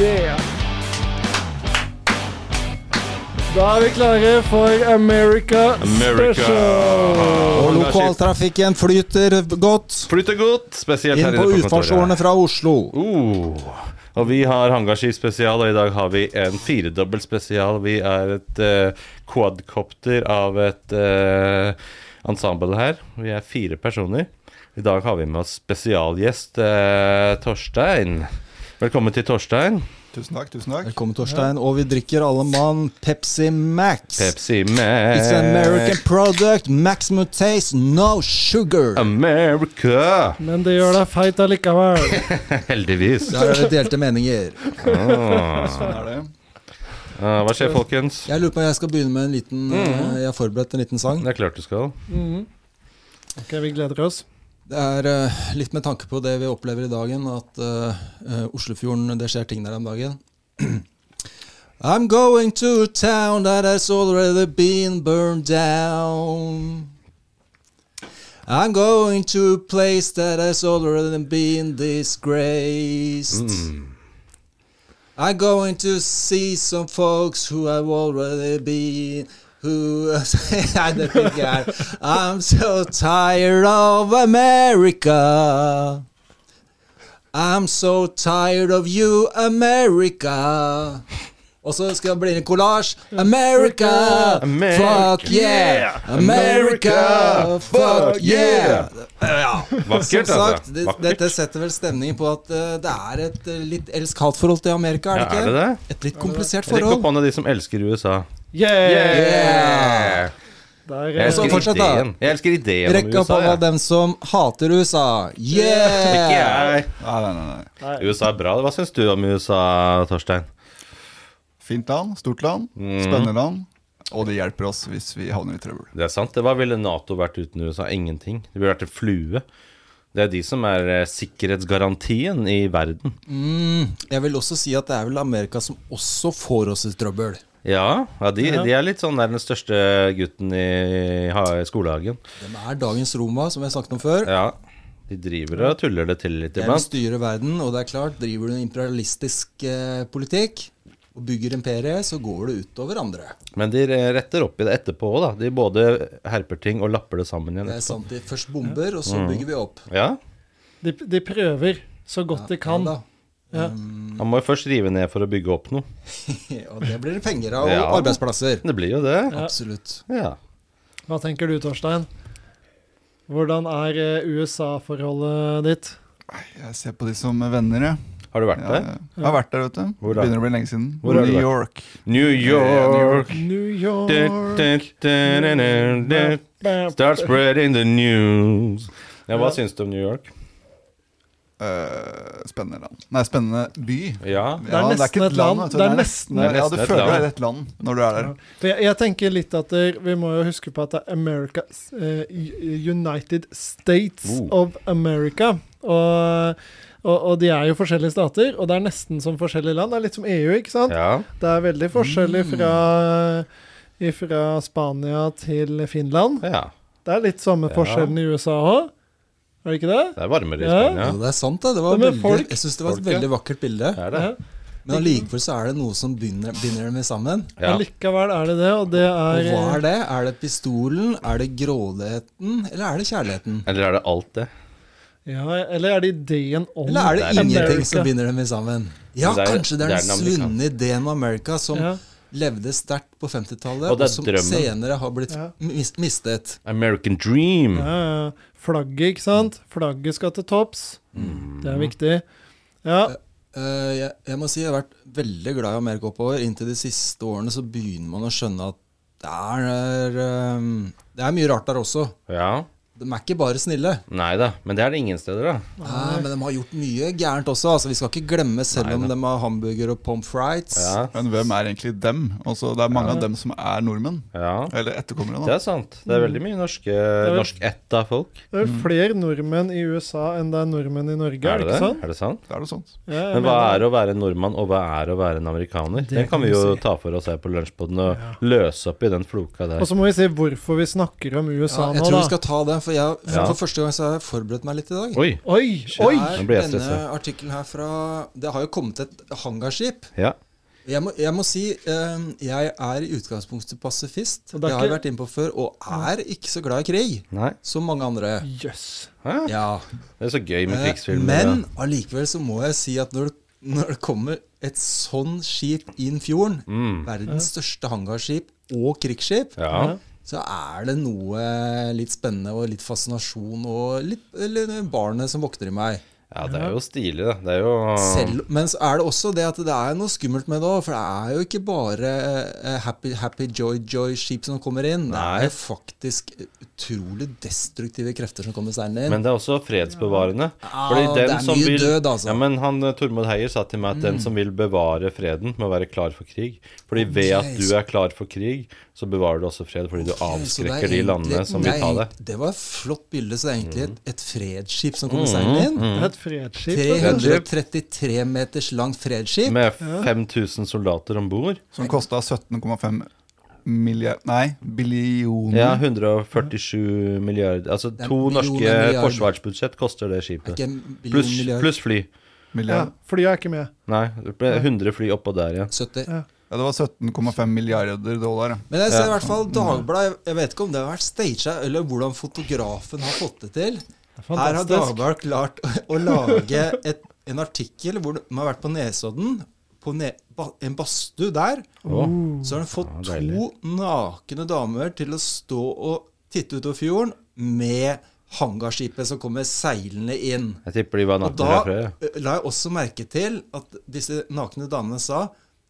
Yeah. Da er vi klare for America, America. Special. Og Og lokaltrafikk. lokaltrafikken flyter godt Flyter godt, spesielt inn her på inne på utfartsårene kontoret. fra Oslo. Uh, og vi har hangarskip spesial, og i dag har vi en firedobbel spesial. Vi er et eh, quadcopter av et eh, ensemble her. Vi er fire personer. I dag har vi med oss spesialgjest eh, Torstein. Velkommen til Torstein. Tusen takk. tusen takk Velkommen, Torstein. Og vi drikker alle mann Pepsi Max. Pepsi Max. It's an American product. Maximum taste, no sugar. America! Men det gjør deg feit allikevel. Heldigvis. Der er det delte meninger. Sånn er det. Ah, hva skjer, folkens? Jeg lurer på om jeg skal begynne med en liten Mm. eh, Jeg har forberedt en liten sang. Det er klart du skal. Mhm. Ok, vi gleder oss. Det er eh, litt med tanke på det vi opplever i dagen, at eh, eh, Oslofjorden Det skjer ting der om dagen. I'm going to a town that has already been burned down. I'm going to a place that has already been disgraced. I'm going to see some folks who have already been who I don't think I I'm so tired of America. I'm so tired of you, America. Og så skal det bli en kollasj. America, America. fuck yeah! America, America, fuck fuck yeah! yeah. Ja. Som Vakkert, sagt, altså. det, Vakkert. dette setter vel stemningen på at eh, det er et eh, litt elsk-hat-forhold til Amerika, er det Ja, ikke? er det det? Et litt komplisert Rekk opp forhold. hånda de som elsker USA. Yeah! Yeah! Der, Jeg eh, Så elsker fortsett, da. ideen. Jeg elsker ideen Rekk opp om USA. hånda jeg. dem som hater USA. Ikke Yeah! jeg. Nei, nei, nei, nei. nei. USA er bra. Hva syns du om USA, Torstein? Fint land, stort land, Mm. spennende land. Og det hjelper oss hvis vi havner i trøbbel. Det er sant. Det Hva ville Nato vært uten USA? Ingenting. Det ville vært en flue. Det er de som er eh, sikkerhetsgarantien i verden. Jeg vil også si at det er vel Amerika som også får oss i trøbbel. Ja, ja, de, Ja. de er litt sånn der den største gutten i ha- skolehagen. De er dagens Roma, som vi har snakket om før. Ja. De driver og tuller det til litt De vil iblant. styre verden, og det er klart, driver du en imperialistisk eh, politikk og bygger imperiet, så går det utover andre. Men de retter opp i det etterpå òg, da. De både herper ting og lapper det sammen igjen. Det er sant. De først bomber, og Mm. så bygger vi opp. Ja, De, de prøver så godt de kan. Ja da. Ja. Han må jo først rive ned for å bygge opp noe. Mm, Og det blir det penger av, og Ja. arbeidsplasser. Det blir jo det. Ja. Absolutt. Ja. Hva tenker du, Torstein? Hvordan er eh, USA-forholdet ditt? Jeg ser på de som venner, jeg. Har du vært Jeg, der? jeg har vært der, vet du. Hvor da? Begynner å bli lenge siden. Hvor har du New vært? York. New York. York. New Du, York du, du, du, du, du. Start spreading the news. Ja, hva Ja. syns du om New York? Eh, spennende land. Nei, spennende by. Ja. Det er nesten et land. vet du. Det er Det er nesten- nesten, ja, du nesten et føler land. deg i et land når du er der. For jeg, jeg tenker litt at eh, vi må jo huske på at det er America, eh, U- United States Oh. of America. Og, og, og de er jo forskjellige stater, og det er nesten som forskjellige land. Det er litt som EU, ikke sant? ja. Det er veldig forskjellig Mm. fra fra Spania til Finland. Ja. Det er litt samme Ja. forskjellen i USA òg, er det ikke det? Det er varmere i Ja. Spania. Ja, det er sant, det. det var Ja, men veldig, folk- jeg syns det var et folk, ja. veldig vakkert bilde. Det er det. Men allikevel så er det noe som binder, binder dem sammen. Ja. Allikevel er det det, og det er Og eh, hva er det? Er det pistolen? Er det grådigheten? Eller er det kjærligheten? Eller er det alt det? Ja, eller er det ideen om Eller er det Det er ingenting Oh, America? som binder dem sammen? Ja, Men det er- kanskje det er det er den den amerikanske. svunne ideen om America som Ja. levde sterkt på 50-tallet, Og og, det er som drømmen. senere har blitt Ja. mis mistet. American dream. Ja, ja. Flagget, ikke sant? Flagget skal til topps. Mm. Det er viktig. Ja. Eh, jeg, jeg må si jeg har vært veldig glad i Amerika oppover. Inntil de siste årene så begynner man å skjønne at det er, eh, det er mye rart der også. Ja. De er ikke bare snille. Nei da. Men det er det ingen steder, da. Nei, men de har gjort mye gærent også. Altså, vi skal ikke glemme, selv om de har hamburger og pommes frites. Ja. Men hvem er egentlig dem? Altså, det er mange av dem som er nordmenn. ja. Eller etterkommere, Det da. er sant. Det er veldig mye norske, vel- norskætta folk. Det er vel flere nordmenn i USA enn det er nordmenn i Norge, Er er det det det? ikke sant? Er det sant? Det er noe sånt. Ja, jeg Men hva mener er å være en nordmann, og hva er å være en amerikaner? Det, kan vi jo ta for oss her på lunsjpoden og løse opp i den floka der. Og så må vi si hvorfor vi snakker om USA Ja, jeg nå, tror vi da. skal ta det, for for, jeg, for, Ja. for første gang så har jeg forberedt meg litt i dag. Oi! Oi! Oi! Ja. Nå er blir jeg denne stresset. artikkelen her fra Det har jo kommet et hangarskip. Ja. Jeg må, jeg må si eh, jeg er i utgangspunktet pasifist. Og Det, det er har jeg ikke- vært innpå før, og er ikke så glad i krig Nei. som mange andre. Jøss. Hæ? Ja. Det er så gøy med Eh, krigsfilmer. Men da. allikevel så må jeg si at når det, når det kommer et sånn skip inn fjorden, verdens største hangarskip og krigsskip, Mm. Ja. så er det noe litt spennende og litt fascinasjon og litt, eller barnet som vokter i meg. ja, det er jo stilig, da. Det er jo Ah. Selv, men så er det også det at det er noe skummelt med det òg, for det er jo ikke bare eh, happy, happy joy joy skip som kommer inn. Det Nei. er jo faktisk utrolig destruktive krefter som kommer seilende inn. Men det er også fredsbevarende. Ja, Fordi det er mye vil, død, altså. Mm. Ja, men han eh, Tormod Heier sa til meg at den som vil bevare freden, må være klar for krig. Fordi ved at du er klar for krig, så bevarer du også fred, fordi du Så det er avskrekker de egentlig- landene som vil ta nei, det. Mm. Det var et flott bilde, så det er egentlig et, et fredsskip som kommer seilende inn. Det er et altså. fredsskip. da. 333 meters langt fredsskip. Med 5000 soldater om bord. Som kosta 17,5 milliard... Nei, billioner. Ja, 147 milliarder Altså Mm. er to millioner norske milliarder. forsvarsbudsjett koster det Er skipet. ikke en billion Pluss milliard- pluss fly. Ja, Milliard. flyet er ikke med. Nei, det ble 100 fly oppå der igjen. 70. Ja. Ja, det var 17,5 milliarder dollar. Men jeg ser i hvert fall Dagbladet Jeg vet ikke om det har vært staged, eller hvordan fotografen har fått det til. Her har Fantastisk. Dagbladet klart å, å lage et, en artikkel hvor de har vært på Nesodden, på ne, ba, en badstue der. Åh. Så har de fått Ja, deilig. to nakne damer til å stå og titte utover fjorden med hangarskipet som kommer seilende inn. Jeg tipper de var Og natten da fra før. ja. eh, la jeg også merke til at disse nakne damene sa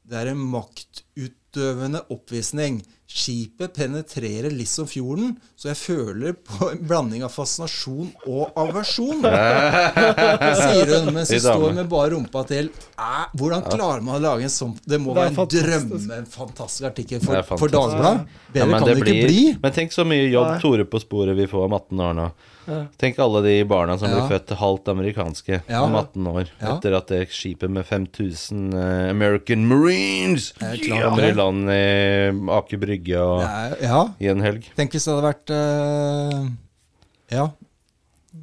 det er en maktutøvende oppvisning. Skipet penetrerer litt som fjorden, så jeg føler på en blanding av fascinasjon og aversjon. Sier hun mens De hun damene. står med bare rumpa til. Æ, hvordan klarer man å lage en sånn Det må Det er være en fantastisk. drømme, en fantastisk artikkel Det for, er fantastisk. for Dagbladet. Bedre men kan det, ikke blir- bli. Men tenk så mye jobb Nei. Tore på sporet vi får om 18 år nå. Tenk alle de barna som Ja. blir født halvt amerikanske Ja. om 18 år. Ja. Etter at det skipet med 5000 eh, American Marines Jeg er klar over andre det. land i Aker Brygge og Det er- Ja. i en helg. Tenk hvis det hadde vært eh, Ja.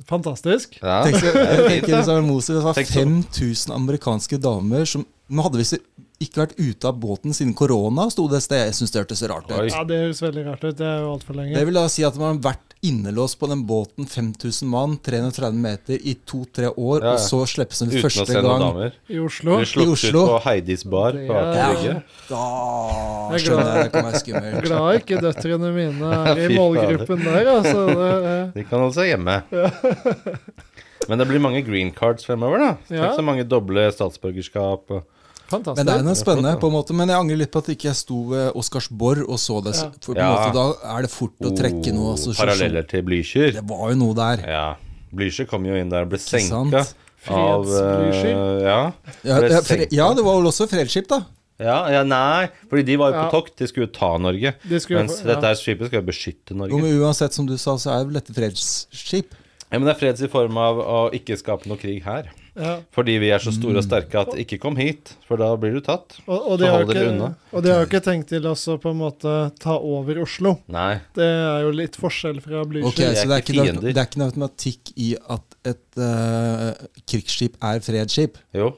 Fantastisk. Ja. Tenk så, jeg tenker hvis det var Moser, det var Tenk så- 5000 amerikanske damer som men hadde visst ikke vært ute av båten siden korona, sto det et sted. Jeg syns det hørtes så rart Oi. ut. Ja, Det høres veldig rart ut. Det er jo altfor Det lenge. vil da si at man har vært innelåst på den båten, 5000 mann, 330 meter, i to-tre år, Ja, ja. og så slippes den Uten å første se noen gang. damer. I Oslo. Blir sluppet ut Oslo. på Heidis bar Det på Aker Ja, Brygge. da Jeg er glad. skjønner jeg det kan være skummelt. Glad ikke døtrene mine er i Fy fader. målgruppen der, altså. Det, er- De kan altså hjemme. Men det blir mange green cards fremover, da. Ja. Tenk så mange doble statsborgerskap. Og fantastisk. Men det er noe spennende, på en måte. Men jeg angrer litt på at ikke jeg sto ved Oscarsborg og så det. Ja. For på en Ja. måte, da er det fort å trekke noe. altså, Oh, assosiasjon. paralleller til Blücher. Det var jo noe der. Ja. Blücher kom jo inn der og ble sant? senka av Freds-Blücher. eh, ja. Ja, Ble ja, senka. fre- ja, det var vel også Fredsskip, da. Ja, ja, nei, fordi de var jo Ja. på tokt. De skulle jo ta Norge. De skulle jo mens få- ja. dette her skipet skal jo beskytte Jo, Norge. men uansett, som du sa, så er jo dette fredsskip. Ja, Men det er freds i form av å ikke skape noe krig her. Ja. Fordi vi er så store og sterke at ikke kom hit, for da blir du tatt. Mm. Og, og, de Så har hold jo dere ikke, unna. og de har jo ikke tenkt til også på en måte ta over Oslo. Nei. Det er jo litt forskjell fra Blücher. Ok, er så det er, ikke ikke, fiender. det er ikke noe automatikk i at et eh, krigsskip er fredsskip. Jo,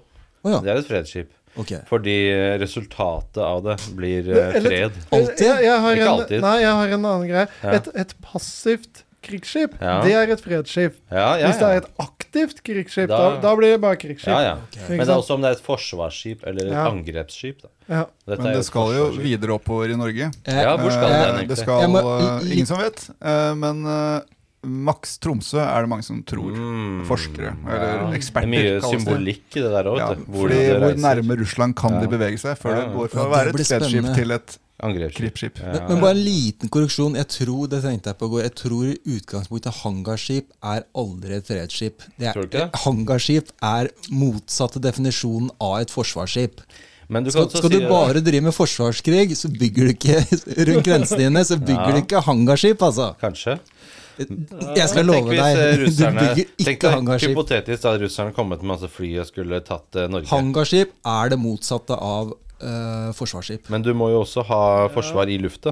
Å ja. det er et fredsskip. Ok. Fordi eh, resultatet av det blir eh, Eller- fred. Alltid? Jeg, jeg har Ikke en, alltid. Nei, jeg har en annen greie. Ja. Et, et passivt krigsskip, Ja. det er et fredsskip. Ja, ja, Hvis det er ja. et aktivt krigsskip, da, Da- da, blir det bare krigsskip. ja, ja. Ikke Men det er sant? også om det er et forsvarsskip eller et Ja. angrepsskip. Da. Ja. Dette Men er det et skal jo forsvarsskip. videre oppover i Norge. Eh, Ja, hvor skal eh, den Eh, Det egentlig? skal Jeg må- eh, Ingen som vet. eh, Men eh, Max Tromsø er det mange som tror. Mm. Forskere, Ja. eller Det er eksperter. mye kalles det. symbolikk i det der òg, Ja, vet du. Hvor fordi det reiser. hvor nærme Russland kan Ja. de bevege seg før det Ja. går fra Ja, å det være et blir fredsskip spennende. til et Angrepsskip. krigsskip. Ja. Men, men bare en liten korreksjon. Jeg tror det tenkte jeg på i går. Jeg tror i utgangspunktet hangarskip er aldri et fredsskip. Det Tror du er, ikke det? hangarskip er motsatte definisjonen av et forsvarsskip. Men du kan Skal, også skal si du bare drive med forsvarskrig, så bygger du ikke rundt grensene dine. Så bygger du ikke hangarskip, altså. Kanskje. Jeg skal love hvis eh, deg, du russerne bygger Tenk ikke deg hangarskip. hypotetisk da russerne kommet med masse fly og skulle tatt eh, Norge. Hangarskip er det motsatte av eh, forsvarsskip. Men du må jo også ha forsvar i lufta.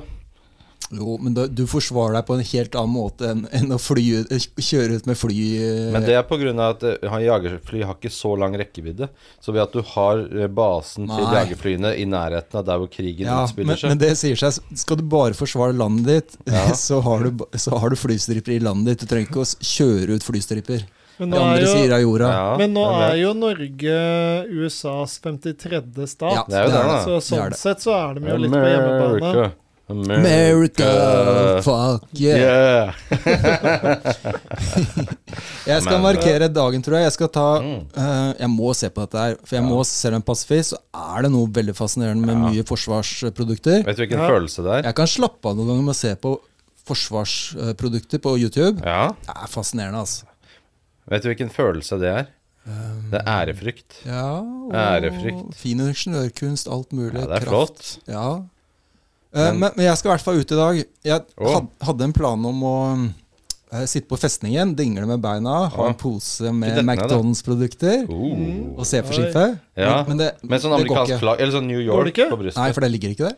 Jo, men da, du forsvarer deg på en helt annen måte enn, enn å fly, ut- kjøre ut med fly eh, Men det er pga. at eh, han jagerfly har ikke så lang rekkevidde. Så ved at du har eh, basen til Nei. jagerflyene i nærheten av der hvor krigen ja, men, utspiller seg men det sier seg. Skal du bare forsvare landet ditt, så, har du, ba- så har du flystriper i landet ditt. Du trenger ikke å s- kjøre ut flystriper. Men nå Det er andre sider jo, av jorda. Ja, men nå hvem vet? er jo Norge USAs 53. Ja, stat. Det er jo det det, er da. Så Det er sånn det. sett så er de jo litt på hjemmebane. America. America, fuck yeah. Yeah. Jeg skal Men- markere dagen, tror jeg. Jeg skal ta Mm. eh, Jeg må se på dette her. For jeg må, selv om jeg er pasifist, så er det noe veldig fascinerende med mye forsvarsprodukter. Vet du hvilken Ja. følelse det er? Jeg kan slappe av noen ganger med å se på forsvarsprodukter på YouTube. Ja. Det er fascinerende, altså. Vet du hvilken følelse det er? Um, Det er ærefrykt. Ja, og Ærefrykt. Fin ingeniørkunst, alt mulig. Ja, det er kraft. flott. Ja. Eh, men, men jeg skal i hvert fall ut i dag. Jeg Å. had, hadde en plan om å eh, sitte på festningen, dingle med beina, ha Å. en pose Ikke med dette ned, da. McDonald's-produkter Oh. Mm. og se for skipet. Ja. Men, men det, Med sånn det går amerikansk ikke. flagg, eller sånn New York det ikke? på brystet. Nei, for det ligger ikke der.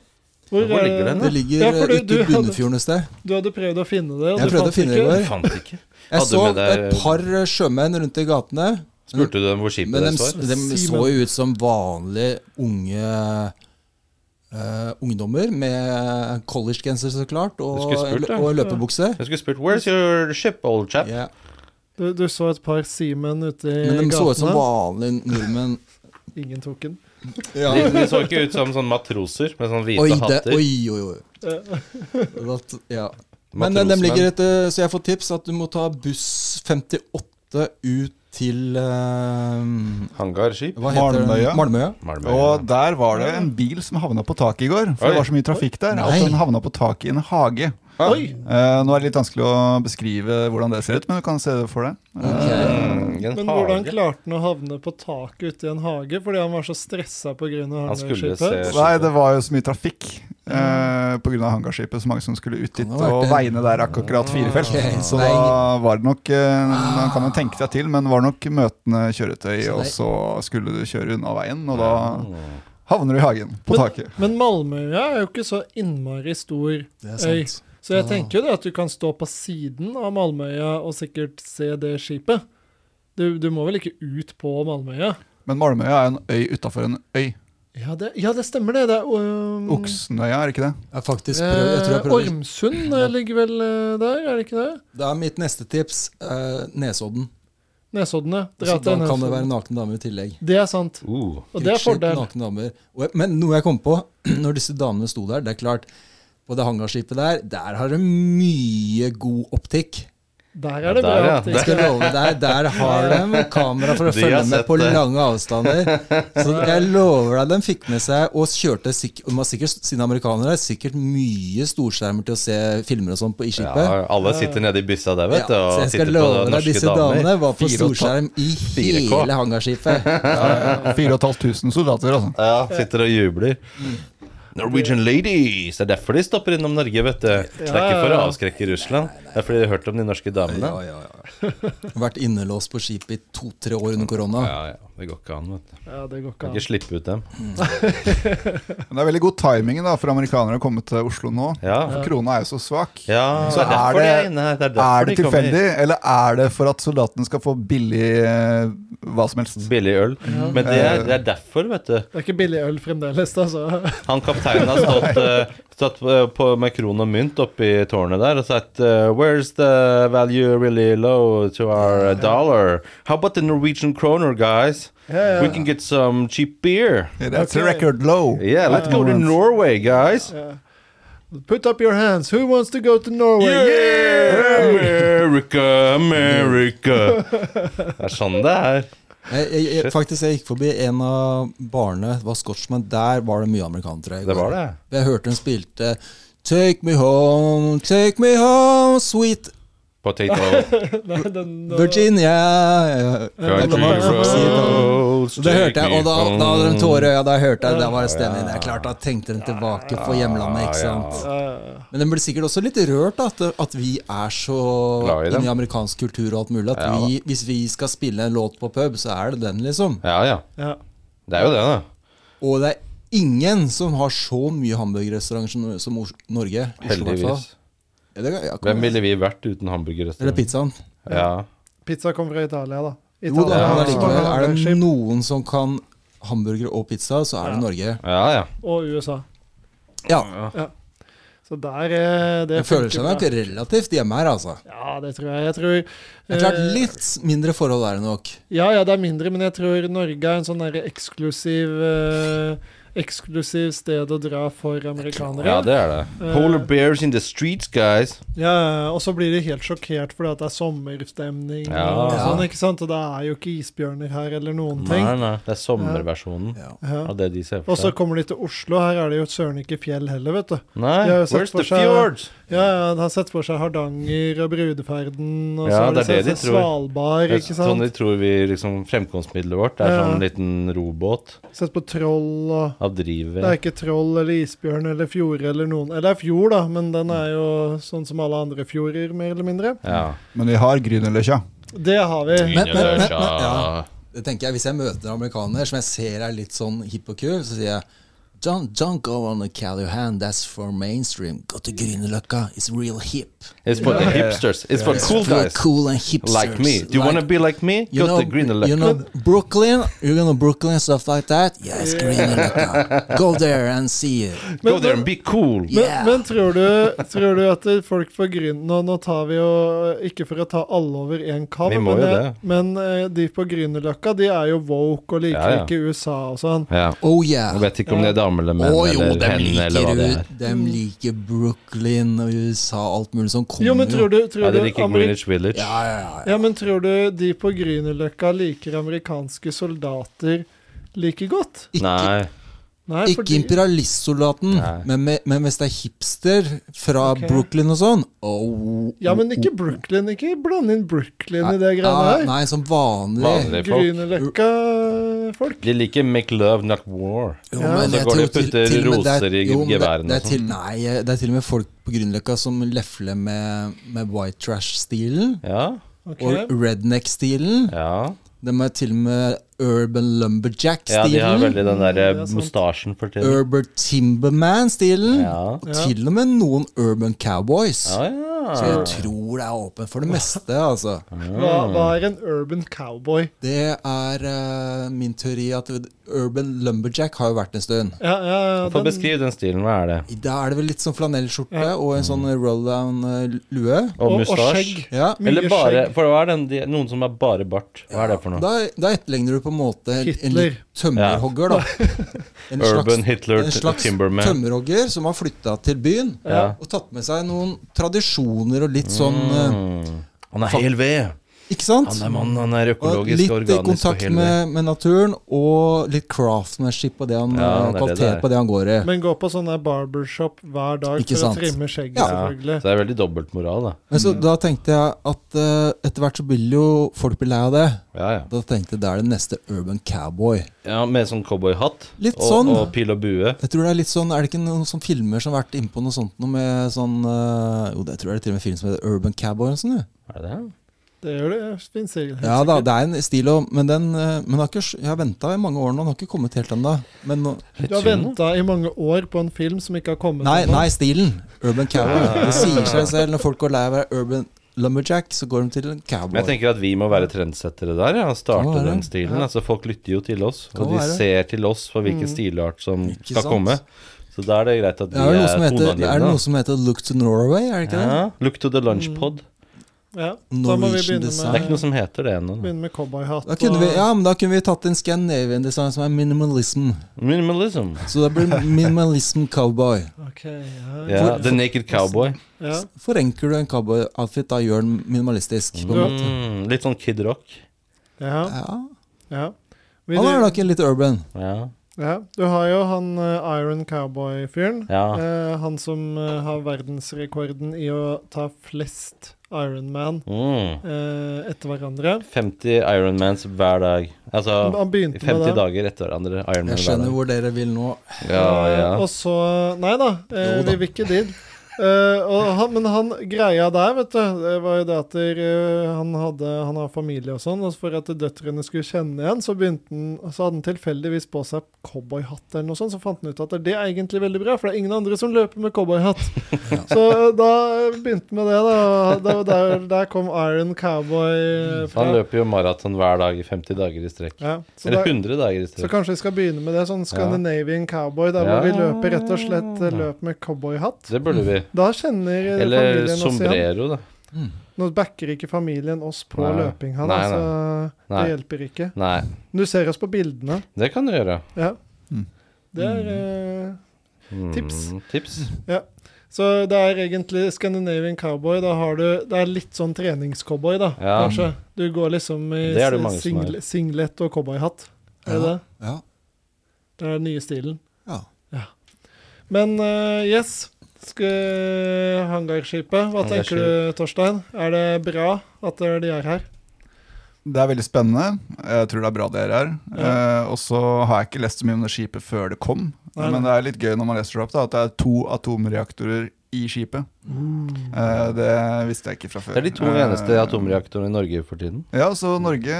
Hvor, Hvor er ligger den, Det da? ligger Ja, for du- eh, ute du i hadde- Bunnefjorden et sted. Du hadde prøvd å finne det, og Jeg du prøvde fant å finne det i ikke. går. Jeg fant ikke. Jeg Hadde så med deg- et par eh, sjømenn rundt i gatene. Spurte du dem hvor skipet Men de, deres var? de så jo ut som vanlige unge eh, ungdommer med collegegenser, så klart, Du og, skulle spurt, da. og løpebukse. Jeg skulle spurt 'Where's your ship, old chap?' Ja. Du, du så et par seamen ute i Men de så ut som Eh, gatene. vanlige nordmenn. Ingen tok den. Ja. De, de så ikke ut som sånn matroser med sånn hvite Oi, det, hatter. oi, oi, oi. That, ja. Men eh, dem Matrosmenn. ligger et, eh, så jeg får tips at du må ta buss 58 ut til eh, Hangarskip. Hva heter Malmøya? det? Malmøya. Malmö. Og der var det en bil som havna på taket i går, for Oi. det var så mye trafikk der. Nei. At den havna på taket i en hage. Ah, Oi! Eh, nå er det litt vanskelig å beskrive hvordan det ser ut, men du kan se det for deg. Ok. Eh, mm, en Men hvordan hage. klarte han å havne på taket ute i en hage fordi han var så stressa pga. Han skulle hangarskipet? se Nei, det var jo så mye trafikk eh, pga. hangarskipet. Så mange som skulle ut dit. Mm. Kan det ha vært Og det? veiene der er akkurat firefelt. Ok, Så det er Ah. da var det nok eh, Man kan jo tenke seg til, men var nok møtende kjøretøy, Så og det- Mm. så skulle du kjøre unna veien, og da Mm. havner du i hagen. På taket. Men Malmøya er jo ikke så innmari stor, Det er Øy. sant. så jeg Ah. tenker jo det at du kan stå på siden av Malmøya og sikkert se det skipet. Du, du må vel ikke ut på Malmøya? Men Malmøya er en øy utafor en øy. Ja, det, ja, det stemmer det. Det er Mm. øhm, Oksenøya, er det ikke det? Jeg, har faktisk prøvd, jeg tror jeg eh, prøvde Ormsund eh, ligger vel eh, der, er det ikke det? Da er mitt neste tips eh, Nesodden. Nesoddene. Så Dra da til kan det være Nesodden. nakne damer i tillegg. Det er sant. Uh, Og det er Krigsskip, fordel. nakne damer. Og jeg, men noe jeg kom på, når disse damene sto der, det er klart På det hangarskipet der, der har de mye god optikk. Der er det Der, bra. ja. optikk. Jeg skal love der, der har de kamera for å De følge har med sett på det. lange avstander. Så jeg lover deg, de fikk med seg og kjørte sikk- de har sikkert, Siden amerikanere er sikkert mye storskjermer til å se filmer og sånn på i skipet. ja, alle sitter nede i byssa der, vet du. Ja, så Og jeg skal sitter på love deg, norske disse damene damer. var på Fire og ta- storskjerm i 4K. hele hangarskipet. Ja, 4500 soldater, altså. Ja, sitter og jubler. Norwegian ladies! Det er derfor de stopper innom Norge, vet du. Det er ikke for å ja. avskrekke Russland. Det er fordi de har hørt om de norske damene. ja, ja, ja. Vært innelåst på skipet i to-tre år under korona. Ja, ja. Det går ikke an, vet du. Ja, det går ikke Kan ikke an. slippe ut dem. Men det er veldig god timing da, for amerikanere å komme til Oslo nå. Ja. For krona er jo så svak. ja Så det er derfor er de det- er inne her. Det er Er derfor det de kommer. tilfeldig, eller er det for at soldatene skal få billig eh, hva som helst? Billig øl. Men det er, det er derfor, vet du. Det er ikke billig øl fremdeles, altså. Han kapteinen har stått, eh, stått eh, på, med kron og mynt oppi tårnet der og sagt eh, Where's the value really low to our eh, dollar? How about the Norwegian kroner, guys? We can get some cheap beer. That's Ok. a record low. Eh, Yeah, let's go to Norway, guys. Put up your hands. Who wants to go to Norway? Yeah! America, America. Det er sånn det er. Jeg, jeg, jeg, faktisk, jeg gikk forbi en av barene, det var Scotchman. Der var det mye amerikanere. i Det går. var det. Jeg hørte hun spilte Take me home, take me home, sweet Potato Nei, den, Virginia. Ja, ja, det country var liksom å si det. roads. Så det hørte jeg, og da, da hadde de tårer i øya. Da hørte jeg, da var det stemning. Ja. Det er klart, da tenkte de tilbake på hjemlandet, ikke Ja, sant. Ja, ja, ja. Men den ble sikkert også litt rørt da, at, at vi er så Glad i dem. inne i amerikansk kultur og alt mulig. At Ja, da. vi, hvis vi skal spille en låt på pub, så er det den, liksom. Ja, ja. ja. Det er jo det, da. Og det er ingen som har så mye hamburgerrestauranter som, som Os Norge. Oslo, i hvert fall. Heldigvis. Ja, det, ja, kom Hvem igjen. ville vi vært uten Eller hamburgerrestaurant? pizzaen. Ja. Pizza kommer fra Italia, da. Jo da, har så men mange allikevel, er det hamburgerskip, noen som kan hamburger og pizza, så er det Ja. Norge. ja, ja. Og USA. Ja. Så der er det Jeg føler funker seg bra. nok relativt hjemme her, altså. Ja, det tror jeg. Jeg tror Det er klart eh, litt mindre forhold er det nok. Ja, ja, det er mindre, men jeg tror Norge er en sånn der eksklusiv eh, Eksklusiv sted å dra for amerikanere. ja, det Eh. er det. Polar bears in the streets, guys. Ja, ja, og så blir de helt sjokkert fordi at det er sommerstemning. Ja. Og Ja. sånn, ikke sant? Og det er jo ikke isbjørner her eller noen Nei, ting. nei. Det er sommerversjonen Ja. Ja. av det de ser Og for så seg. kommer de til Oslo, her er det jo søren ikke fjell heller, vet du. Nei, de har jo sett where's for the seg- fjords? Ja, ja, de har sett for seg Hardanger og Brudeferden, og så Ja, har de det er sett det de for seg tror. Svalbard, Det er ikke Sånn sant? de tror vi liksom Fremkomstmiddelet vårt er Ja. sånn liten robåt Sett på troll og av drivet. Det er ikke troll eller isbjørn eller fjord eller noen Eller det er fjord, da, men den er jo sånn som alle andre fjorder, mer eller mindre. Ja. Men vi har Grünerløkka. Det har vi. men, men, men, men, ja. ja. Det tenker jeg, Hvis jeg møter en amerikaner som jeg ser er litt sånn hipp og kul, så sier jeg Don't, don't go on the Callahan, that's for mainstream. Go to Grünerløkka, it's real hip. It's for the hipsters. It's for cool For guys cool and hipsters. like me. Do you wanna be like me? Go you know, to Grünerløkka. You know Brooklyn? You're gonna Brooklyn, stuff like that? Yes, Grünerløkka. Go there and see it. Go there and be cool. Men, Yeah. men tror, du, tror du at det- folk fra Grüner nå, nå tar vi jo Ikke for å ta alle over én kam, Vi men, må jo jeg- det. men eh, de på Grünerløkka de er jo woke og liker Ja, ja. ikke USA og sånn. Ja. Oh Jeg yeah. vet ikke om det er damer eller Å menn jo, eller de hen eller hva liker, det jo- er. dem liker Brooklyn og USA og alt mulig sånn. Kommer Jo, men tror du, tror Ja, de du liker Ameri- Greenwich Village. Ja, ja, ja. ja, men tror du de på Grünerløkka liker amerikanske soldater like godt? Ikke, Nei. Nei, ikke imperialistsoldaten, Nei. men, men- men hvis det er hipster fra Ok. Brooklyn og sånn oh, Ja, men ikke Brooklyn. Ikke blande inn Brooklyn i det ah, greiene her. Nei, som vanlig. Vanlig. folk. Grünerløkka-folk. De liker make love, not war. Jo, Ja. men Og så går jeg de tror og putter til- til og med det er- roser i jo, men det- geværene det er og sånn. til- Nei, det er til og med folk på Grünerløkka som lefler med, med white trash-stilen. sånn. Ja. Ok. Og redneck-stilen. Ja. De er til og med urban ja, lumberjack-stilen. de har veldig den der eh, det er sant. mustasjen for tiden. Urban Timberman-stilen. Ja. Ah. Og til og med noen Urban Cowboys. Ja, ja. Så jeg tror det er åpent for det meste, altså. Hva, hva er en urban cowboy? Det er eh, min teori at Urban Lumberjack har jo vært en stund. Ja, ja, ja, Få den- beskrive den stilen. Hva er det? Da er det vel litt sånn flanellskjorte og en sånn roll-down-lue. Og og, og mustasje? skjegg. Ja. Mye Eller bare skjegg. For hva er den, de, noen som er bare bart? Hva er det for noe? Da, da etterligner du på en måte en- en Hitler. litt tømmerhogger, da. En Urban Hitler en slags Timberman. tømmerhogger som har flytta til byen Ja. og tatt med seg noen tradisjoner og litt sånn eh, Mm. Han er hel ved. Ikke sant? Han er mann, han er Og økologisk, litt i organisk og kontakt hel ved. med, med naturen og litt craftsmanship på det han, eh, Ja, det er det kvalitet det er. på det han går i. Men gå på sånn der barbershop hver dag for Ikke sant? å trimme skjegget, Ja. Ja, selvfølgelig. så det er veldig dobbeltmoral, da. Men så da tenkte jeg at eh, etter hvert så vil jo folk bli lei av det. Ja, ja. Da tenkte jeg da er det neste Urban Cowboy. Ja, Med sånn cowboyhatt Litt og, sånn. og pil og bue. Jeg tror det Er litt sånn, er det ikke noen sånne filmer som har vært inne på noe sånt noe med sånn eh, Jo, det tror jeg det er til og med en film som heter Urban Cowboy. eller Sånn, ja. Er det det? Det gjør det. det finnes sikkert. ja da, det er en stil òg, men den eh, men den har ikke, s- jeg har venta i mange år nå. Den har ikke kommet helt ennå. Men nå, Du har venta i mange år på en film som ikke har kommet nei, ennå. nei, stilen. Urban Cowboy. Det sier seg selv. Når folk går lei av å være Urban Lumberjack, så går de til en Men cowboy. jeg tenker at vi må være trendsettere der, ja. og Starte Kan være. den stilen. Altså Folk lytter jo til oss, Kan og de være. ser til oss for hvilken stilart som Mm. Ikke skal sant? komme. Så da er det greit at vi Det er, er, vel noe som heter, det er toneangivende. noe som heter Look to Norway, er det ikke ja. Look to the lunch Mm. pod. Ja. Da må vi Norwegian begynne design. Det er ikke noe sånn- med, som heter det ennå. da. begynne med cowboyhatt. det? Da kunne og- vi, ja, men da kunne vi tatt en Scandinavian design som er minimalism. Minimalism. Så det blir minimalism cowboy. Ok, ja, Ja, ja, the naked cowboy. ja. Forenkler du en cowboy-outfit, da gjør den minimalistisk. På en måte. Mm, litt sånn Kid Rock. ja, Ja. ja. Vi- Han er nok litt urban. Ja. Ja, du har jo han eh, Iron Cowboy-fyren. ja. Eh, han som eh, har verdensrekorden i å ta flest Ironman Mm. uh, etter hverandre. 50 Ironmans hver dag. Altså Han begynte med 50 det. dager etter hverandre. Ironman Jeg hver skjønner dag. hvor dere vil nå. Ja, Eh, ja. og så Nei da, eh, Jo da. vi vil ikke dit. Eh, og han, men han greia der, vet du, det var jo det at der, eh, han, hadde, han har familie og sånn, og for at døtrene skulle kjenne igjen, så, begynte han, så hadde han tilfeldigvis på seg cowboyhatt eller noe sånt, så fant han ut at det er egentlig veldig bra, for det er ingen andre som løper med cowboyhatt. Så da begynte han med det, da. Det var der, der kom Iron Cowboy fra. Han løper jo maraton hver dag i 50 dager i strekk. Ja, så, da, Eller 100 dager i så strekk. kanskje vi skal begynne med det, sånn Scandinavian Cowboy, der hvor Ja. vi løper rett og slett eh, løp med cowboyhatt. Det burde vi. Da kjenner eh, Eller familien oss igjen. sombrero, da. Nå backer ikke familien oss på Nei. løpinga, da, Nei, nei. så Nei. det hjelper ikke. Nei, Du ser oss på bildene. det kan du gjøre. Ja. Mm. Det er eh, Mm, Tips. Tips. Så det er egentlig Scandinavian cowboy. Da har du Det er litt sånn treningscowboy, da, Ja. kanskje. Du går liksom i Det er det mange som single- singlet og cowboyhatt. Er det Ja. det? Ja. Det er den nye stilen. ja. Men eh, yes, Sk- hangarskipet. Hva tenker du, Torstein? Er det bra at eh, de er her? Det er veldig spennende. Jeg tror det er bra dere er her. Eh, og så har jeg ikke lest så mye om det skipet før det kom. Nei, Men nei. det er litt gøy når man leser det opp, da, at det er to atomreaktorer i skipet. Eh, det visste jeg ikke fra før. Det er de to Eh, eneste atomreaktorene i Norge for tiden. Ja, så Norge